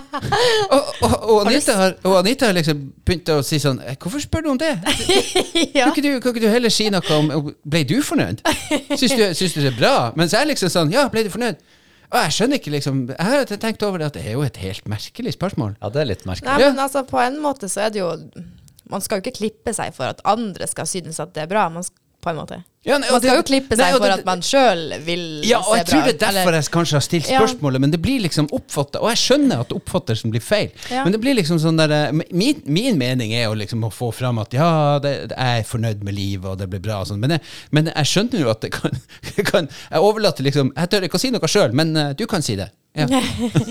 A: Og, og, og, Anita, har, og Anita har liksom begynt å si sånn «Eh, 'Hvorfor spør du om det?'
B: ja.
A: Kan, ikke du, kan ikke du heller si noe om om- Ble du fornøyd? Syns du, syns du det er bra? Mens jeg liksom sånn Ja, ble du fornøyd? Og jeg skjønner ikke, liksom Jeg har tenkt over det at det er jo et helt merkelig spørsmål.
C: Ja, det er litt merkelig.
B: Nei,
A: Ja.
B: men altså, på en måte så er det jo Man skal jo ikke klippe seg for at andre skal synes at det er bra. Man skal, på en måte.
A: Ja, nei, og
B: man skal
A: det-
B: jo klippe
A: nei,
B: seg
A: og
B: for
A: det-
B: at man sjøl vil
A: Ja, og
B: se
A: jeg tror
B: bra
A: det
B: ut.
A: er derfor
B: eller-
A: jeg kanskje har stilt
B: Ja.
A: spørsmålet, men det blir liksom oppfatta Og jeg skjønner at oppfattelsen blir feil,
B: Ja.
A: men det blir liksom sånn der eh, Min, min mening er jo liksom å få fram at ja, det, jeg er fornøyd med livet, og det blir bra og sånn, men, jeg- men jeg skjønner jo at det kan, kan Jeg overlater liksom Jeg tør ikke å si noe sjøl, men eh, du kan si det. Ja.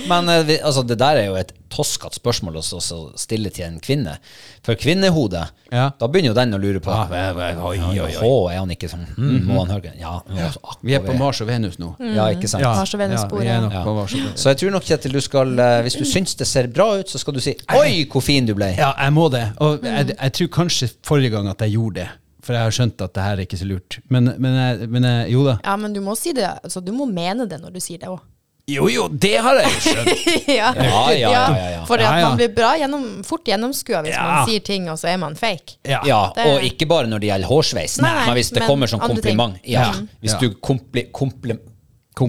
C: Men eh, vi, altså, det der er jo et toskete spørsmål å s- å stille til en kvinne. For kvinnehodet,
A: Ja.
C: da begynner jo den å lure på
A: Ah, ve- ve- oi, oi, oi.
C: Hå, er han ikke sånn hm, Må han høre Ja, nå er han
A: Vi er på
C: akkurat-
A: Mars og Venus nå.
C: Ja, ikke sant?
B: Mars og Venus-sporet.
A: vi er nok
C: Ja.
A: på Mars og Venus.
C: Så jeg tror nok, Kjetil, du skal, eh, hvis du syns det ser bra ut, så skal du si 'oi, hvor fin du ble'.
A: Ja, jeg må det. Og jeg,
B: Mm.
A: jeg tror kanskje forrige gang at jeg gjorde det. For jeg har skjønt at det her er ikke så lurt. Men, men, jeg, men jeg, jo da.
B: Ja, men du må si det. Altså, du må mene det når du sier det òg.
A: Jo jo, det har jeg jo skjønt!
B: ja.
C: Ja, ja, ja, ja, ja.
B: For at
A: Ja, ja.
B: man blir bra gjennom, fort gjennomskua hvis
A: Ja.
B: man sier ting, og så er man fake.
A: Ja.
C: Ja,
B: det-
C: og ikke bare når det gjelder hårsveis,
B: Nei, nei,
C: men hvis det
B: men
C: kommer som
B: andre ting.
C: kompliment. Ja.
A: Mm.
C: Hvis
A: Ja.
C: du kompli... kompli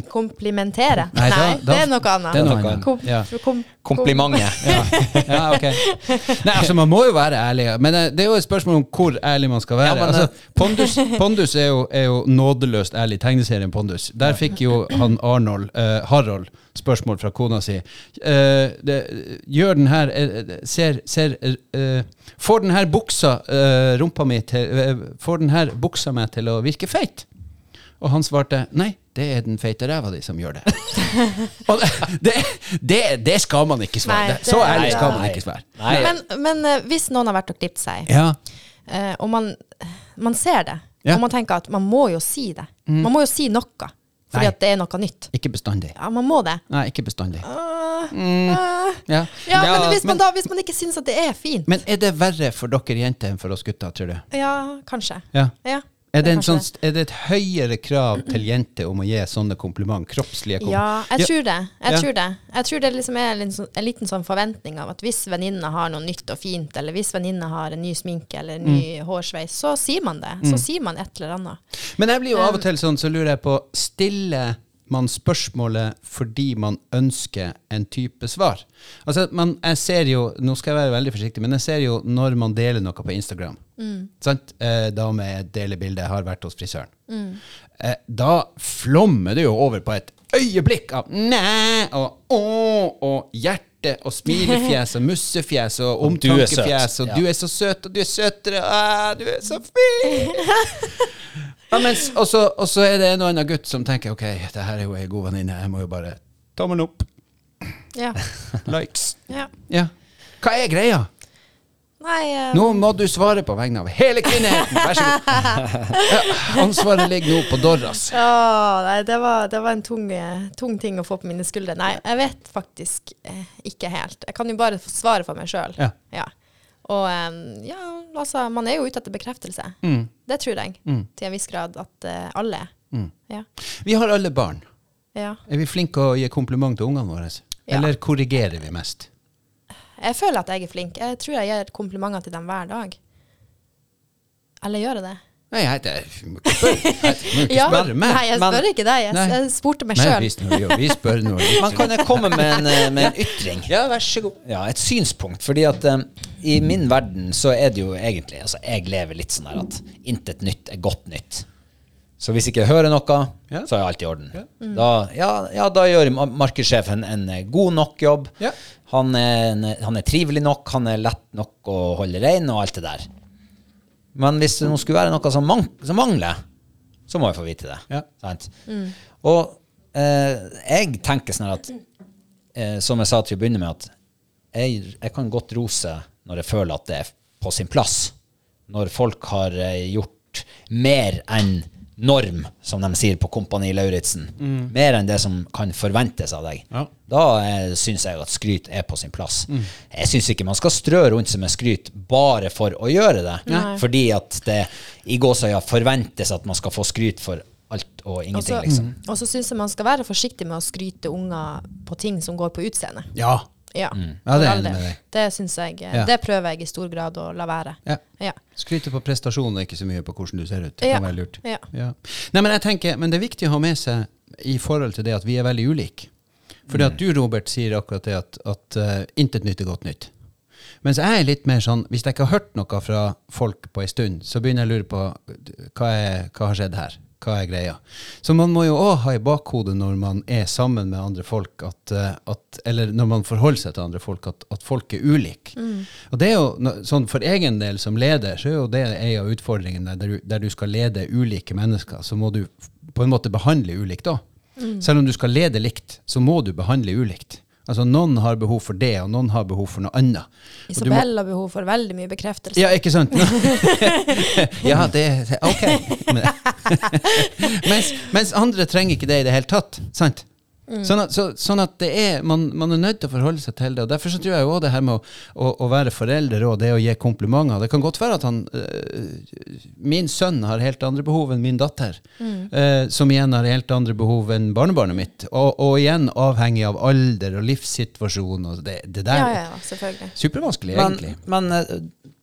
B: Komplimentere.
A: Nei,
B: Nei,
A: da- da-
B: det er noe annet.
A: det er noe
B: Kom-
A: annet. Ja.
B: kom-
C: komplimentet.
A: ja, ok. Nei, altså, man må jo være ærlig. Men eh, det er jo et spørsmål om hvor ærlig man skal være.
C: Ja, men, eh,
A: altså, Pondus, Pondus er, jo, er jo nådeløst ærlig. Tegneserien Pondus. Der fikk jo han Arnold, eh, Harold, spørsmål fra kona si. Eh, det, gjør den her eh, Ser, ser eh, Får den her buksa eh, rumpa mi til eh, Får den her buksa meg til å virke feit? Og han svarte nei, det er den feite ræva di som gjør det. Og det, det, det skal man ikke svare.
B: Nei,
A: Det- Så
B: det-
A: ærlig skal man
C: Nei.
A: ikke svare.
C: Nei.
B: Men, men eh, hvis noen har vært og klippet seg,
A: Ja.
B: eh, og man, man ser det,
A: Ja. Mm.
B: og man tenker at man må jo si det. Man må jo si noe, fordi
A: Nei.
B: at det er noe nytt.
A: Ikke bestandig.
B: Ja, man må det.
A: Nei, ikke bestandig.
B: Ah, ah.
A: Mm. Ja,
B: Ja, men hvis
A: men,
B: man, da, hvis man ikke syns at det er fint
A: men er det verre for dere jenter enn for oss gutter, tror du?
B: Ja, kanskje.
A: Ja.
B: Ja,
A: Er det, en
B: kanskje
A: sånn, er det et høyere krav til jenter om å gi sånne kompliment, kroppslige
B: Ja,
A: kompliment?
B: jeg tror det. Jeg
A: Ja.
B: tror det, jeg tror det liksom er en, liten sånn- en liten sånn forventning av at hvis venninna har noe nytt og fint, eller hvis venninna har en ny sminke eller en
A: Mm.
B: ny hårsveis, så sier man det. Så sier man et eller annet.
A: Men jeg blir jo av og til sånn, så lurer jeg på Stiller man spørsmålet fordi man ønsker en type svar? Altså, at man, jeg ser jo Nå skal jeg være veldig forsiktig, men jeg ser jo når man deler noe på Instagram. Sant? Eh, dame deler bildet, har vært hos frisøren. Eh, da flommer det jo over på et øyeblikk av næ og å og hjerte og smilefjes og mussefjes og
C: Og du er søt.
A: omtankefjes og
C: Ja.
A: du er så søt og du er søtere Æ, du er så fin! Ja, mens, og, så, og så er det en og annen gutt som tenker ok, det her er jo ei god venninne, jeg må jo bare Tommelen opp.
B: Ja.
A: Likes.
B: ja.
A: Ja. Hva er greia?
B: Nei, eh,
A: Nå må du svare på vegne av hele kvinneheten! Vær så god. Ja, ansvaret ligger nå på Dorras.
B: Åh, nei, det var, det var en tung, eh, tung ting å få på mine skuldre. Nei, jeg vet faktisk eh, ikke helt. Jeg kan jo bare få svare for meg sjøl.
A: Ja.
B: Og eh, ja, altså, man er jo ute etter bekreftelse.
A: Mm.
B: Det tror jeg til en viss grad at eh, alle er. Ja.
A: Vi har alle barn.
B: ja.
A: Er vi flinke å gi kompliment til ungene våre?
B: Ja.
A: Eller korrigerer vi mest?
B: Jeg føler at jeg er flink. Jeg tror jeg gir komplimenter til dem hver dag. Eller gjør jeg det?
A: Nei, jeg, det, vi må ikke spørre, jeg må ikke
B: Ja.
A: spørre meg.
B: Nei, jeg
C: men-
B: spør ikke deg. Jeg,
A: Nei.
B: jeg spurte meg
A: Nei,
B: sjøl.
A: vi, spør- vi spør nå.
C: Man kan jo komme med en, eh, med en ytring.
A: Ja, vær så god.
C: Ja, et synspunkt. Fordi at eh, i min verden så er det jo egentlig Altså, jeg lever litt sånn her at intet nytt er godt nytt. Så hvis ikke jeg hører noe,
A: Ja.
C: så er alt i orden. Da, ja, ja, da gjør ma- markedssjefen en eh, god nok jobb.
A: Ja.
C: Han, er, en- han er trivelig nok, han er lett nok å holde rein, og alt det der. Men hvis
A: Mm.
C: det nå skulle være noe som, man som mangler, så må jeg få vite det.
A: Ja. Mm.
C: Sant? Og eh, jeg tenker sånn her at eh, som jeg sa til å begynne med, at jeg, jeg kan godt rose når jeg føler at det er på sin plass. Når folk har eh, gjort mer enn norm, som de sier på Kompani Lauritzen. Mer enn det som kan forventes av deg.
A: Mm. Ja. Mm.
C: Da eh, syns jeg at skryt er på sin plass. Jeg syns ikke man skal strø rundt seg med skryt bare for å gjøre det.
B: Nei.
C: Fordi at det i gåsøya forventes at man skal få skryt for alt og
B: Og
C: ingenting,
B: så-
C: liksom.
A: Mm.
B: Og så syns jeg man skal være forsiktig med å skryte unger på ting som går på utseende.
A: Ja.
B: Ja,
C: Mm.
A: Ja, det er
B: for
A: jeg
B: all
A: enig
B: del.
A: med deg.
B: Det syns jeg eh,
A: Ja.
B: Det prøver jeg i stor grad å la være.
A: ja.
B: Ja.
A: Skryte på prestasjon og ikke så mye på hvordan du ser ut. Det
B: Ja.
A: kan være lurt.
B: Ja.
A: Nei, men jeg tenker, men det er viktig å ha med seg i forhold til det at vi er veldig ulike. Fordi at du, Robert, sier akkurat det at, at eh, intet nytt er godt nytt. Mens jeg er litt mer sånn, hvis jeg ikke har hørt noe fra folk på en stund, så begynner jeg å lure på hva, er, hva har skjedd her? Hva er greia? Så man må jo òg ha i bakhodet når man er sammen med andre folk, at, eh, at, eller når man forholder seg til andre folk, at, at folk er ulike. Og det er jo, no- sånn For egen del som leder, så er jo det en av utfordringene der du, der du skal lede ulike mennesker, så må du f- på en måte behandle ulikt da. Selv om du skal lede likt, så må du behandle ulikt. Altså Noen har behov for det, og noen har behov for noe annet. Og du må-
B: Isabel har behov for veldig mye bekreftelse.
A: ja, ikke sant? ja, det Ok. Men- mens, mens andre trenger ikke det i det hele tatt. sant?
B: Mm.
A: Sånn at, så, sånn at det er, man, man er nødt til å forholde seg til det. og Derfor så tror jeg jo også det her med å, å, å være forelder og det å gi komplimenter Det kan godt være at han, øh, min sønn har helt andre behov enn min datter,
B: Mm.
A: øh, som igjen har helt andre behov enn barnebarnet mitt. Og, og igjen avhengig av alder og livssituasjon og det, det der.
B: ja, ja, ja, selvfølgelig.
A: Supervanskelig, egentlig.
C: Men, men eh,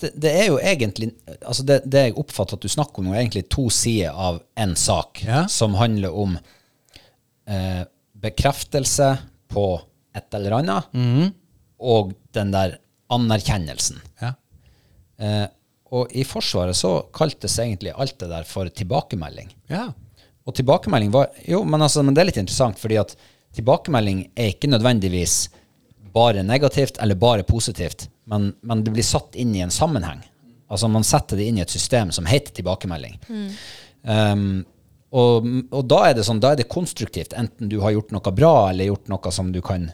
C: det, det er jo egentlig altså det, det jeg oppfatter at du snakker om, nå, er egentlig to sider av én sak
A: Ja.
C: som handler om eh, bekreftelse på et eller annet,
A: Mhm.
C: og den der anerkjennelsen.
A: Ja.
C: Eh, og i Forsvaret så kaltes egentlig alt det der for tilbakemelding.
A: ja.
C: Og tilbakemelding var Jo, men, altså, men det er litt interessant, fordi at tilbakemelding er ikke nødvendigvis bare negativt eller bare positivt, men, men det blir satt inn i en sammenheng. Altså man setter det inn i et system som heter tilbakemelding. Um, og, og da er det sånn, da er det konstruktivt, enten du har gjort noe bra eller gjort noe som du kan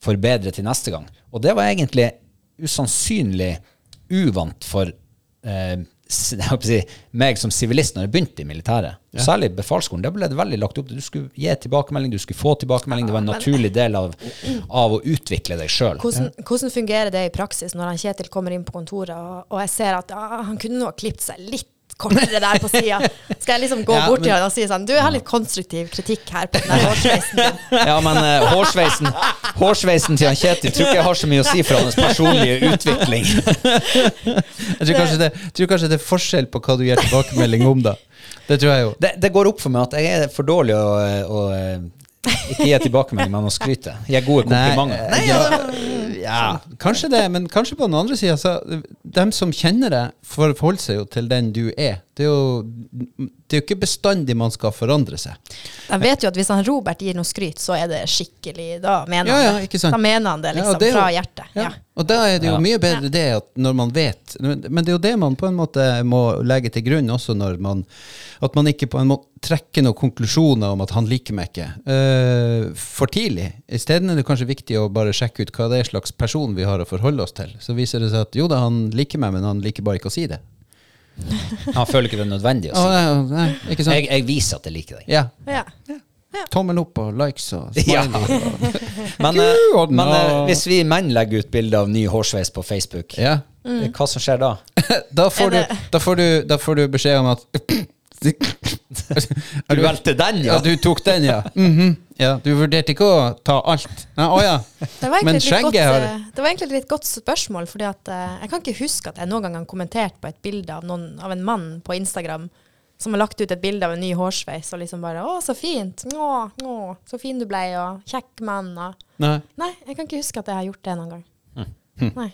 C: forbedre til neste gang. Og det var egentlig usannsynlig uvant for eh, s- jeg holdt på å si, meg som sivilist når jeg begynte i militæret. Særlig befalsskolen. Der ble det veldig lagt opp til du skulle gi tilbakemelding, du skulle få tilbakemelding. Det var en
B: Ja, men-
C: naturlig del av, av å utvikle deg sjøl.
B: Hvordan, hvordan fungerer det i praksis når han Kjetil kommer inn på kontoret, og, og jeg ser at ah, han kunne nå ha klippet seg litt kortere der på sida? Skal jeg liksom gå
A: Ja,
B: bort til
A: men-
B: han og si sånn Du, jeg har litt konstruktiv kritikk her på den her hårsveisen din.
C: Ja, men eh, hårsveisen, hårsveisen til han Kjetil tror ikke jeg har så mye å si for hans personlige utvikling.
A: Jeg tror, kanskje det, jeg tror kanskje det er forskjell på hva du gir tilbakemelding om, da. Det tror jeg jo.
C: Det, det går opp for meg at jeg er for dårlig å, å eh, ikke gi tilbakemelding, men å skryte. Gi gode komplimenter. altså,
A: Nei, eh, ja, ja, altså, kanskje det, men kanskje på den andre sida, så dem som kjenner deg, forholder seg jo til den du er. Det er jo, det er jo ikke bestandig man skal forandre seg.
B: De vet jo at hvis han Robert gir noe skryt, så er det skikkelig Da mener,
A: Ja, ja,
B: han,
A: ikke
B: det.
A: sant?
B: Da mener han det,
A: Ja,
B: liksom,
A: det er jo-
B: fra hjertet. Ja.
A: Ja. Og da er det jo
C: Ja.
A: mye bedre det at når man vet Men men det er jo det man på en måte må legge til grunn også når man At man ikke på en måte trekker noen konklusjoner om at han liker meg ikke eh, for tidlig. Isteden er det kanskje viktig å bare sjekke ut hva det er slags person vi har å forholde oss til. Så viser det seg at jo da, han liker meg, men han liker bare ikke å si det.
C: Han føler ikke det er nødvendig å
A: Å,
C: si.
A: nei, nei, ikke sant?
C: Jeg, jeg viser at jeg liker deg.
A: Ja.
B: Ja.
A: Tommel opp og likes og
C: Ja.
A: smiley.
C: Men, eh,
A: Gud,
C: men eh,
A: nå.
C: hvis vi menn legger ut bilde av ny hårsveis på Facebook,
A: Ja.
C: eh, hva som skjer da?
A: Da, får
B: Er
A: du,
B: det-
A: da, får du, da får du beskjed om at
C: Du valgte den, ja?
A: Ja, du tok den, ja. Mhm. ja. Du vurderte ikke å ta alt. Nei, å ja.
B: Det var,
A: Men
B: egentlig et litt godt,
A: skjegget har
B: eh, det var egentlig et litt godt spørsmål, fordi at eh, jeg kan ikke huske at jeg noen gang har kommentert på et bilde av, noen, av en mann på Instagram som har lagt ut et bilde av en ny hårsveis, og liksom bare 'Å, så fint'. Å, å, så fin du blei, og 'kjekk mann', og
A: Nei.
B: Nei, jeg kan ikke huske at jeg har gjort det noen gang. Nei.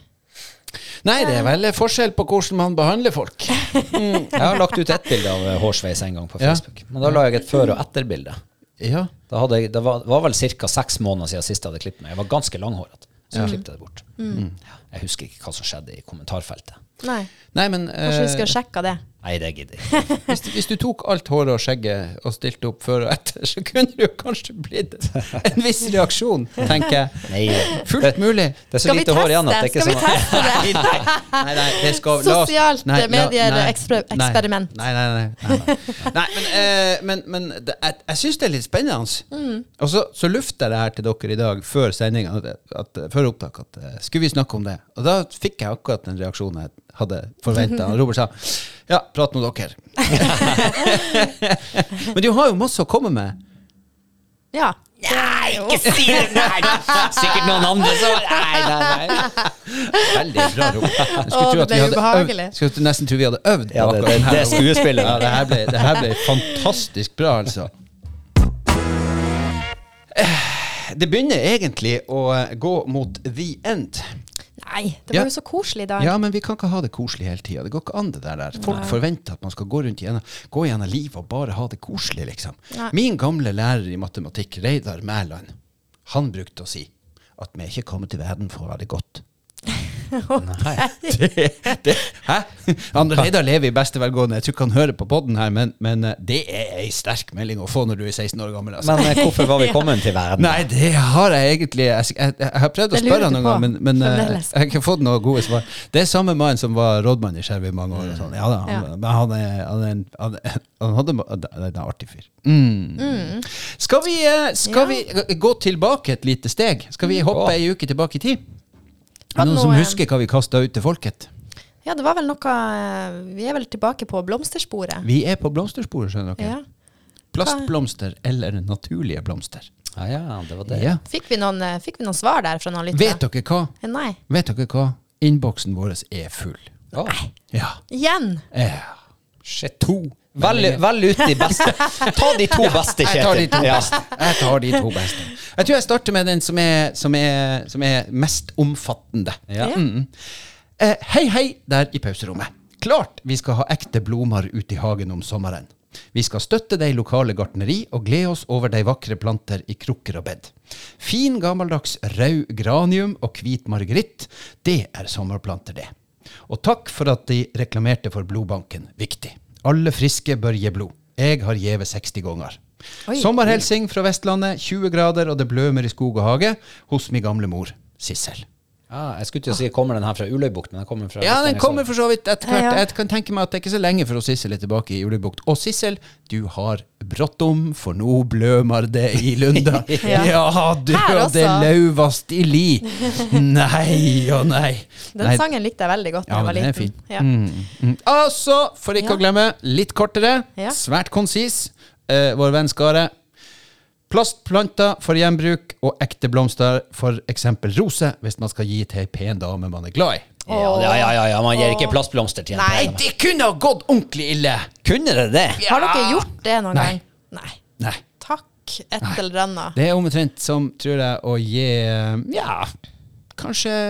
A: Nei, det er vel forskjell på hvordan man behandler folk.
C: Jeg har lagt ut ett bilde av eh, hårsveis en gang på
A: Ja.
C: Facebook. Men da la jeg et før- og etterbilde.
A: Ja.
C: Da hadde jeg, det var, var vel ca. seks måneder siden sist jeg hadde klippet meg. Jeg var ganske langhåret. Så klippet jeg det bort.
A: Mm.
C: Ja. Jeg husker ikke hva som skjedde i kommentarfeltet.
B: Nei.
A: Nei, men
B: Kanskje vi
A: eh,
B: skulle sjekka det.
C: Nei, det gidder jeg ikke.
A: hvis, hvis du tok alt håret og skjegget og stilte opp før og etter, så kunne det jo kanskje blitt en viss reaksjon, tenker jeg.
C: Nei. Det,
A: Fullt mulig.
C: det er så
B: Skal vi
C: lite hår igjen at det
B: teste? Skal
C: ikke er
B: vi teste
C: sånn
B: det?
A: Nei, nei, nei, nei, det skal, la oss-
B: Sosialt
A: nei, la-
B: medier-
A: nei,
B: ekspre-
A: nei,
B: eksperiment.
A: Nei, nei, nei. nei, nei. nei men, eh, men, men det, jeg, jeg syns det er litt spennende.
B: Mm.
A: Og så, så lufta jeg det her til dere i dag før sendinga, at- at- før opptak, at eh, skulle vi snakke om det? Og da fikk jeg akkurat den reaksjonen jeg hadde forventa. Og Robert sa ja, prat med dere. men du har jo masse å komme med.
B: Ja.
C: Nei, ikke si det! Nei. Sikkert noen andre som Nei, nei, nei. Veldig bra, Robert.
A: Jeg
B: Åh,
A: tro at
B: det
A: vi
B: ble
A: hadde
B: ubehagelig.
A: øvd- skulle nesten tro vi hadde øvd.
C: Ja,
A: på
C: det,
A: akkurat
C: det,
A: den her.
C: det er skuespillet.
A: Ja, det her, ble, det her ble fantastisk bra, altså. Eh, Det begynner egentlig å eh, gå mot the end.
B: Nei, det
A: Ja.
B: var jo så koselig i dag.
A: Ja, men vi kan ikke ha det koselig hele tida. Det går ikke an, det der. der. Folk forventer at man skal gå rundt gjennom, gå gjennom livet og bare ha det koselig, liksom.
B: Nei.
A: Min gamle lærer i matematikk, Reidar Mæland, han brukte å si at vi er ikke kommet til verden for å ha det godt. Det, det, hæ? Andre Reidar lever i beste velgående. Jeg tror ikke han hører på podden her, men, men eh, det er ei sterk melding å få når du er 16 år gammel. Altså.
C: Men eh, hvorfor var vi kommet til verden?
A: Nei, det har jeg egentlig Jeg, jeg, jeg har prøvd å
B: Det lurer
A: spørre han
B: du
A: noen
B: på,
A: gang, men, men eh,
B: fremdeles.
A: jeg har ikke fått noen gode svar. Det er samme mann som var rådmann i Skjervøy i mange år. Og sånn. ja, da, han,
B: Ja.
A: Men han, er- han, er en- han, er- han hadde ma- Det er en artig fyr. Mm. Skal, vi, eh, skal vi gå tilbake et lite steg? Skal
B: Mm.
A: vi hoppe ei uke tilbake i tid? Er
B: Hadde
A: det noen som
B: noe-
A: husker hva vi kasta ut til folket?
B: Ja, det var vel noe eh, Vi er vel tilbake på blomstersporet.
A: Vi er på blomstersporet, skjønner dere.
B: Ja.
A: Plastblomster eller naturlige blomster.
C: Ja, Ah, ja, det var det.
A: Ja.
B: Fikk vi noen, eh, fikk vi noen svar der fra noen lyttere?
A: Vet dere hva?
B: Eh, Nei.
A: Vet dere hva? Innboksen vår er full.
C: Ja.
A: Ja.
B: Igjen.
A: Eh,
C: Shit. To. Velg vel ut de beste. Ta de to beste, Kjetil.
A: Jeg tar de to
C: Ja.
A: beste. Jeg tar de to beste. Jeg tror jeg starter med den som er, som er, som er mest omfattende.
C: Ja.
A: Mm. Eh, hei, hei der i pauserommet. Klart vi skal ha ekte blomster ute i hagen om sommeren. Vi skal støtte de lokale gartneri og glede oss over de vakre planter i krukker og bed. Fin gammeldags rød granium og hvit margeritt, det er sommerplanter, det. Og takk for at de reklamerte for blodbanken. Viktig. Alle friske bør gi blod. Jeg har gjevet 60 ganger.
B: Oi.
A: Sommerhelsing fra Vestlandet, 20 grader og det blømer i skog og hage, hos min gamle mor, Sissel.
C: Ja, Ah, jeg skulle til å si kommer den her fra Uløybukt, men den kommer fra
A: Ja, den kommer for så vidt etter hvert.
B: Ja, ja.
A: Jeg kan tenke meg at det er ikke så lenge før Sissel er tilbake i Ulebukt. Og Sissel, du har brått om, for nå blømar det i Lunda. ja.
B: Ja.
A: du
B: Her
A: og det
B: også.
A: lauvast i li. Nei og nei.
B: Den
A: nei.
B: sangen likte jeg veldig godt da
A: Ja,
B: jeg
A: men
B: var
A: den er
B: liten.
A: fin.
B: Ja.
A: Mm. Altså, for ikke
B: Ja.
A: å glemme, litt kortere,
B: Ja.
A: svært konsis, eh, vår venn Skare. Plastplanter for gjenbruk og ekte blomster, for eksempel roser, hvis man skal gi til ei pen dame man er glad i.
C: Ja, ja, ja, ja, ja, man gir ikke
B: Åh.
C: plastblomster til en
B: Nei.
C: pære.
A: det kunne ha gått ordentlig ille!
C: Kunne det det?
B: Har dere gjort det noen
A: Nei.
B: gang? Nei.
A: Nei.
B: Takk, et eller annet.
A: Det er omtrent som, tror jeg, å gi Ja, kanskje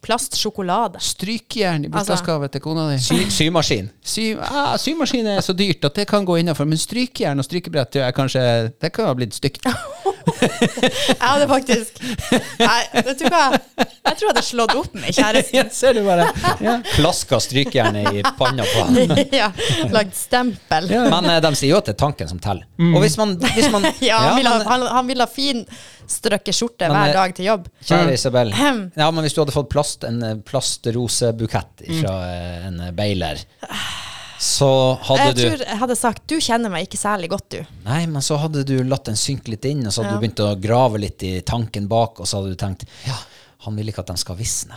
B: Plastsjokolade.
A: Strykjern i
B: Altså-
A: bursdagsgave til kona di.
C: Sy, symaskin.
A: Sy, ah, symaskin er så dyrt at det kan gå innafor, men strykjern og strykebrett det er kanskje, det kan ha blitt stygt.
B: Jeg hadde faktisk Nei, vet du hva? Jeg tror jeg hadde slått opp med kjæresten.
A: Ja, ser du bare. Ja.
C: Klaska strykejernet i panna på han.
B: Ja, Lagd stempel.
C: Men eh, de sier jo at det er tanken som teller. Og hvis man, hvis man
B: Ja, han ville ha,
C: men-
B: han, han ville ha fin strøkkeskjorte
C: Men, eh,
B: hver dag til jobb.
C: Kjære Isabel.
B: Ahem.
C: Ja, men hvis du hadde fått plast, en eh, plastrosebukett fra eh, en eh, beiler, så hadde
B: Jeg
C: du
B: tror jeg hadde sagt du kjenner meg ikke særlig godt, du.
C: Nei, men så hadde du latt den synke litt inn, og så hadde
B: Ja.
C: du begynt å grave litt i tanken bak, og så hadde du tenkt ja, han vil ikke at de skal visne.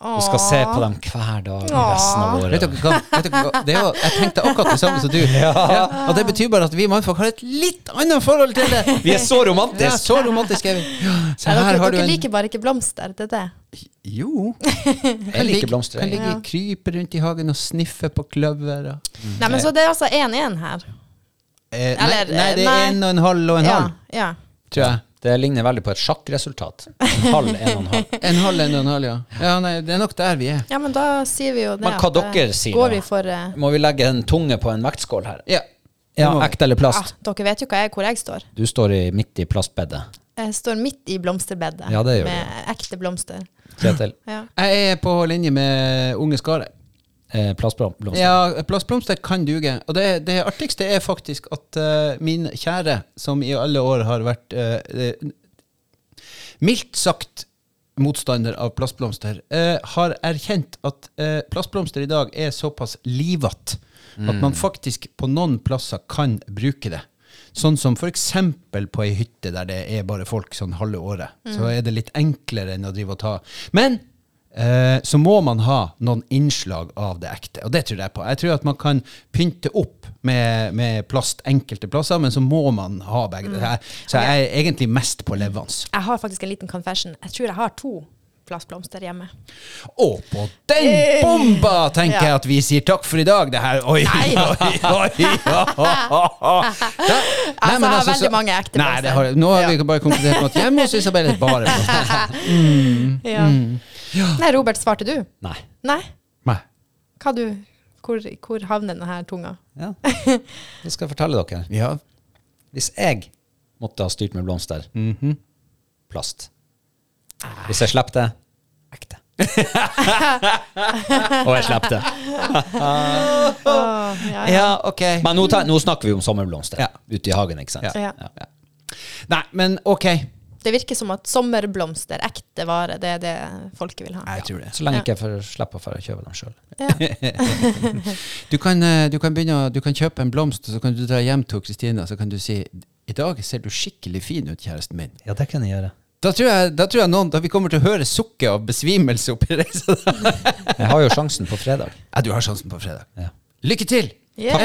C: Du skal se på dem hver dag resten av
A: Vet
C: året.
A: dere hva? Vet dere hva? Det er jo, jeg tenkte akkurat det samme som du. Ja, og det betyr bare at vi mannfolk har et litt annet forhold til det.
C: Vi er så
A: Det er
C: romantiske!
A: så romantisk, Evin. Se
B: Nei,
A: her
B: dere
A: har du
B: dere
A: en
B: liker bare ikke blomster, det er det.
A: Jo.
C: Jeg liker blomster,
A: Kan
C: jeg.
A: ligge og krype rundt i hagen og sniffe på kløver. og-
B: Nei, men så det er altså 1-1 her.
A: Eh, nei,
B: Eller,
A: nei, det
B: nei.
A: er en og en halv og en
B: Ja,
A: halv,
B: ja.
A: tror jeg.
C: Det ligner veldig på et sjakkresultat. En halv, en og en halv.
A: En halv, en og en halv, ja. ja nei, det er nok der vi er.
B: ja, men da sier vi jo det.
C: Men hva
B: at, eh,
C: dere sier
B: Går
C: da?
B: vi for eh,
C: Må vi legge en tunge på en vektskål her?
A: Ja.
C: Ja,
A: Det må vi.
C: Ekte eller
B: ah,
C: plast?
B: Dere vet jo hva jeg, hvor jeg står.
C: Du står i, midt i plastbedet.
B: Jeg står midt i blomsterbedet
C: Ja, det gjør
B: med ekte blomster.
C: Kjetil,
B: Ja.
A: Jeg er på linje med Unge Skare.
C: eh, plastblomster.
A: Ja, plastblomster kan duge. Og det, det artigste er faktisk at eh, min kjære, som i alle år har vært eh, eh, mildt sagt motstander av plastblomster, eh, har erkjent at eh, plastblomster i dag er såpass livat at man faktisk på noen plasser kan bruke det. Sånn som f.eks. på ei hytte der det er bare folk sånn halve året. Så er det litt enklere enn å drive og ta. Men eh, så må man ha noen innslag av det ekte, og det tror jeg på. Jeg tror at man kan pynte opp med, med plast enkelte plasser, men så må man ha begge. deler. Så jeg er egentlig mest på levende.
B: Jeg har faktisk en liten confession. Jeg tror jeg har to plastblomster hjemme.
A: Og på den bomba tenker
B: Ja.
A: jeg at vi sier takk for i dag. Det her Oi,
B: Nei.
A: oi, oi! ja, ha, ha, ha. Da- Nei, men altså,
B: Altså, jeg har
A: så-
B: veldig mange ekte
A: Nei, det har,
B: blomster.
A: nå har vi bare konkludert med at hjemme hos Isabel er det bare blomster.
C: Mm.
B: Ja. Nei, Robert, svarte du?
C: Nei.
B: Nei?
A: Nei.
B: Hva du Hvor, hvor havner denne tunga?
C: Ja. Det skal jeg fortelle dere.
A: Ja.
C: Hvis jeg måtte ha styrt med blomster Plast. Hvis jeg slipper det ekte. Og jeg slipper det.
B: Åh, ja, ja.
A: ja, ok.
C: Men nå, ta, nå snakker vi om sommerblomster
A: Ja.
C: ute i hagen, ikke sant?
A: Ja.
B: Ja.
A: Nei, men ok.
B: Det virker som at sommerblomster, ekte vare, det er det folket vil ha.
A: Jeg tror det.
C: Så lenge ikke jeg får slipper for å kjøpe dem sjøl.
A: Du kan, eh, du kan begynne å, du kan kjøpe en blomst, og så kan du dra hjem til Kristina så kan du si i dag ser du skikkelig fin ut, kjæresten min.
C: Ja, det kan jeg gjøre.
A: Da tror jeg, da tror jeg noen, da vi kommer til å høre sukket av besvimelse oppi reisa.
C: Jeg har jo sjansen på fredag.
A: Ja, du har sjansen på fredag.
C: Ja.
A: Lykke til!
B: Yeah.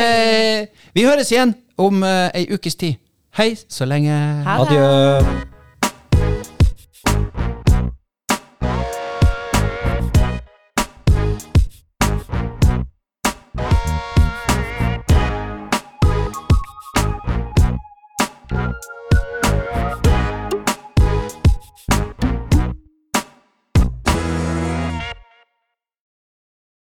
A: Eh, vi høres igjen om eh, ei ukes tid. Hei så lenge.
B: Ha det.
C: Adjø.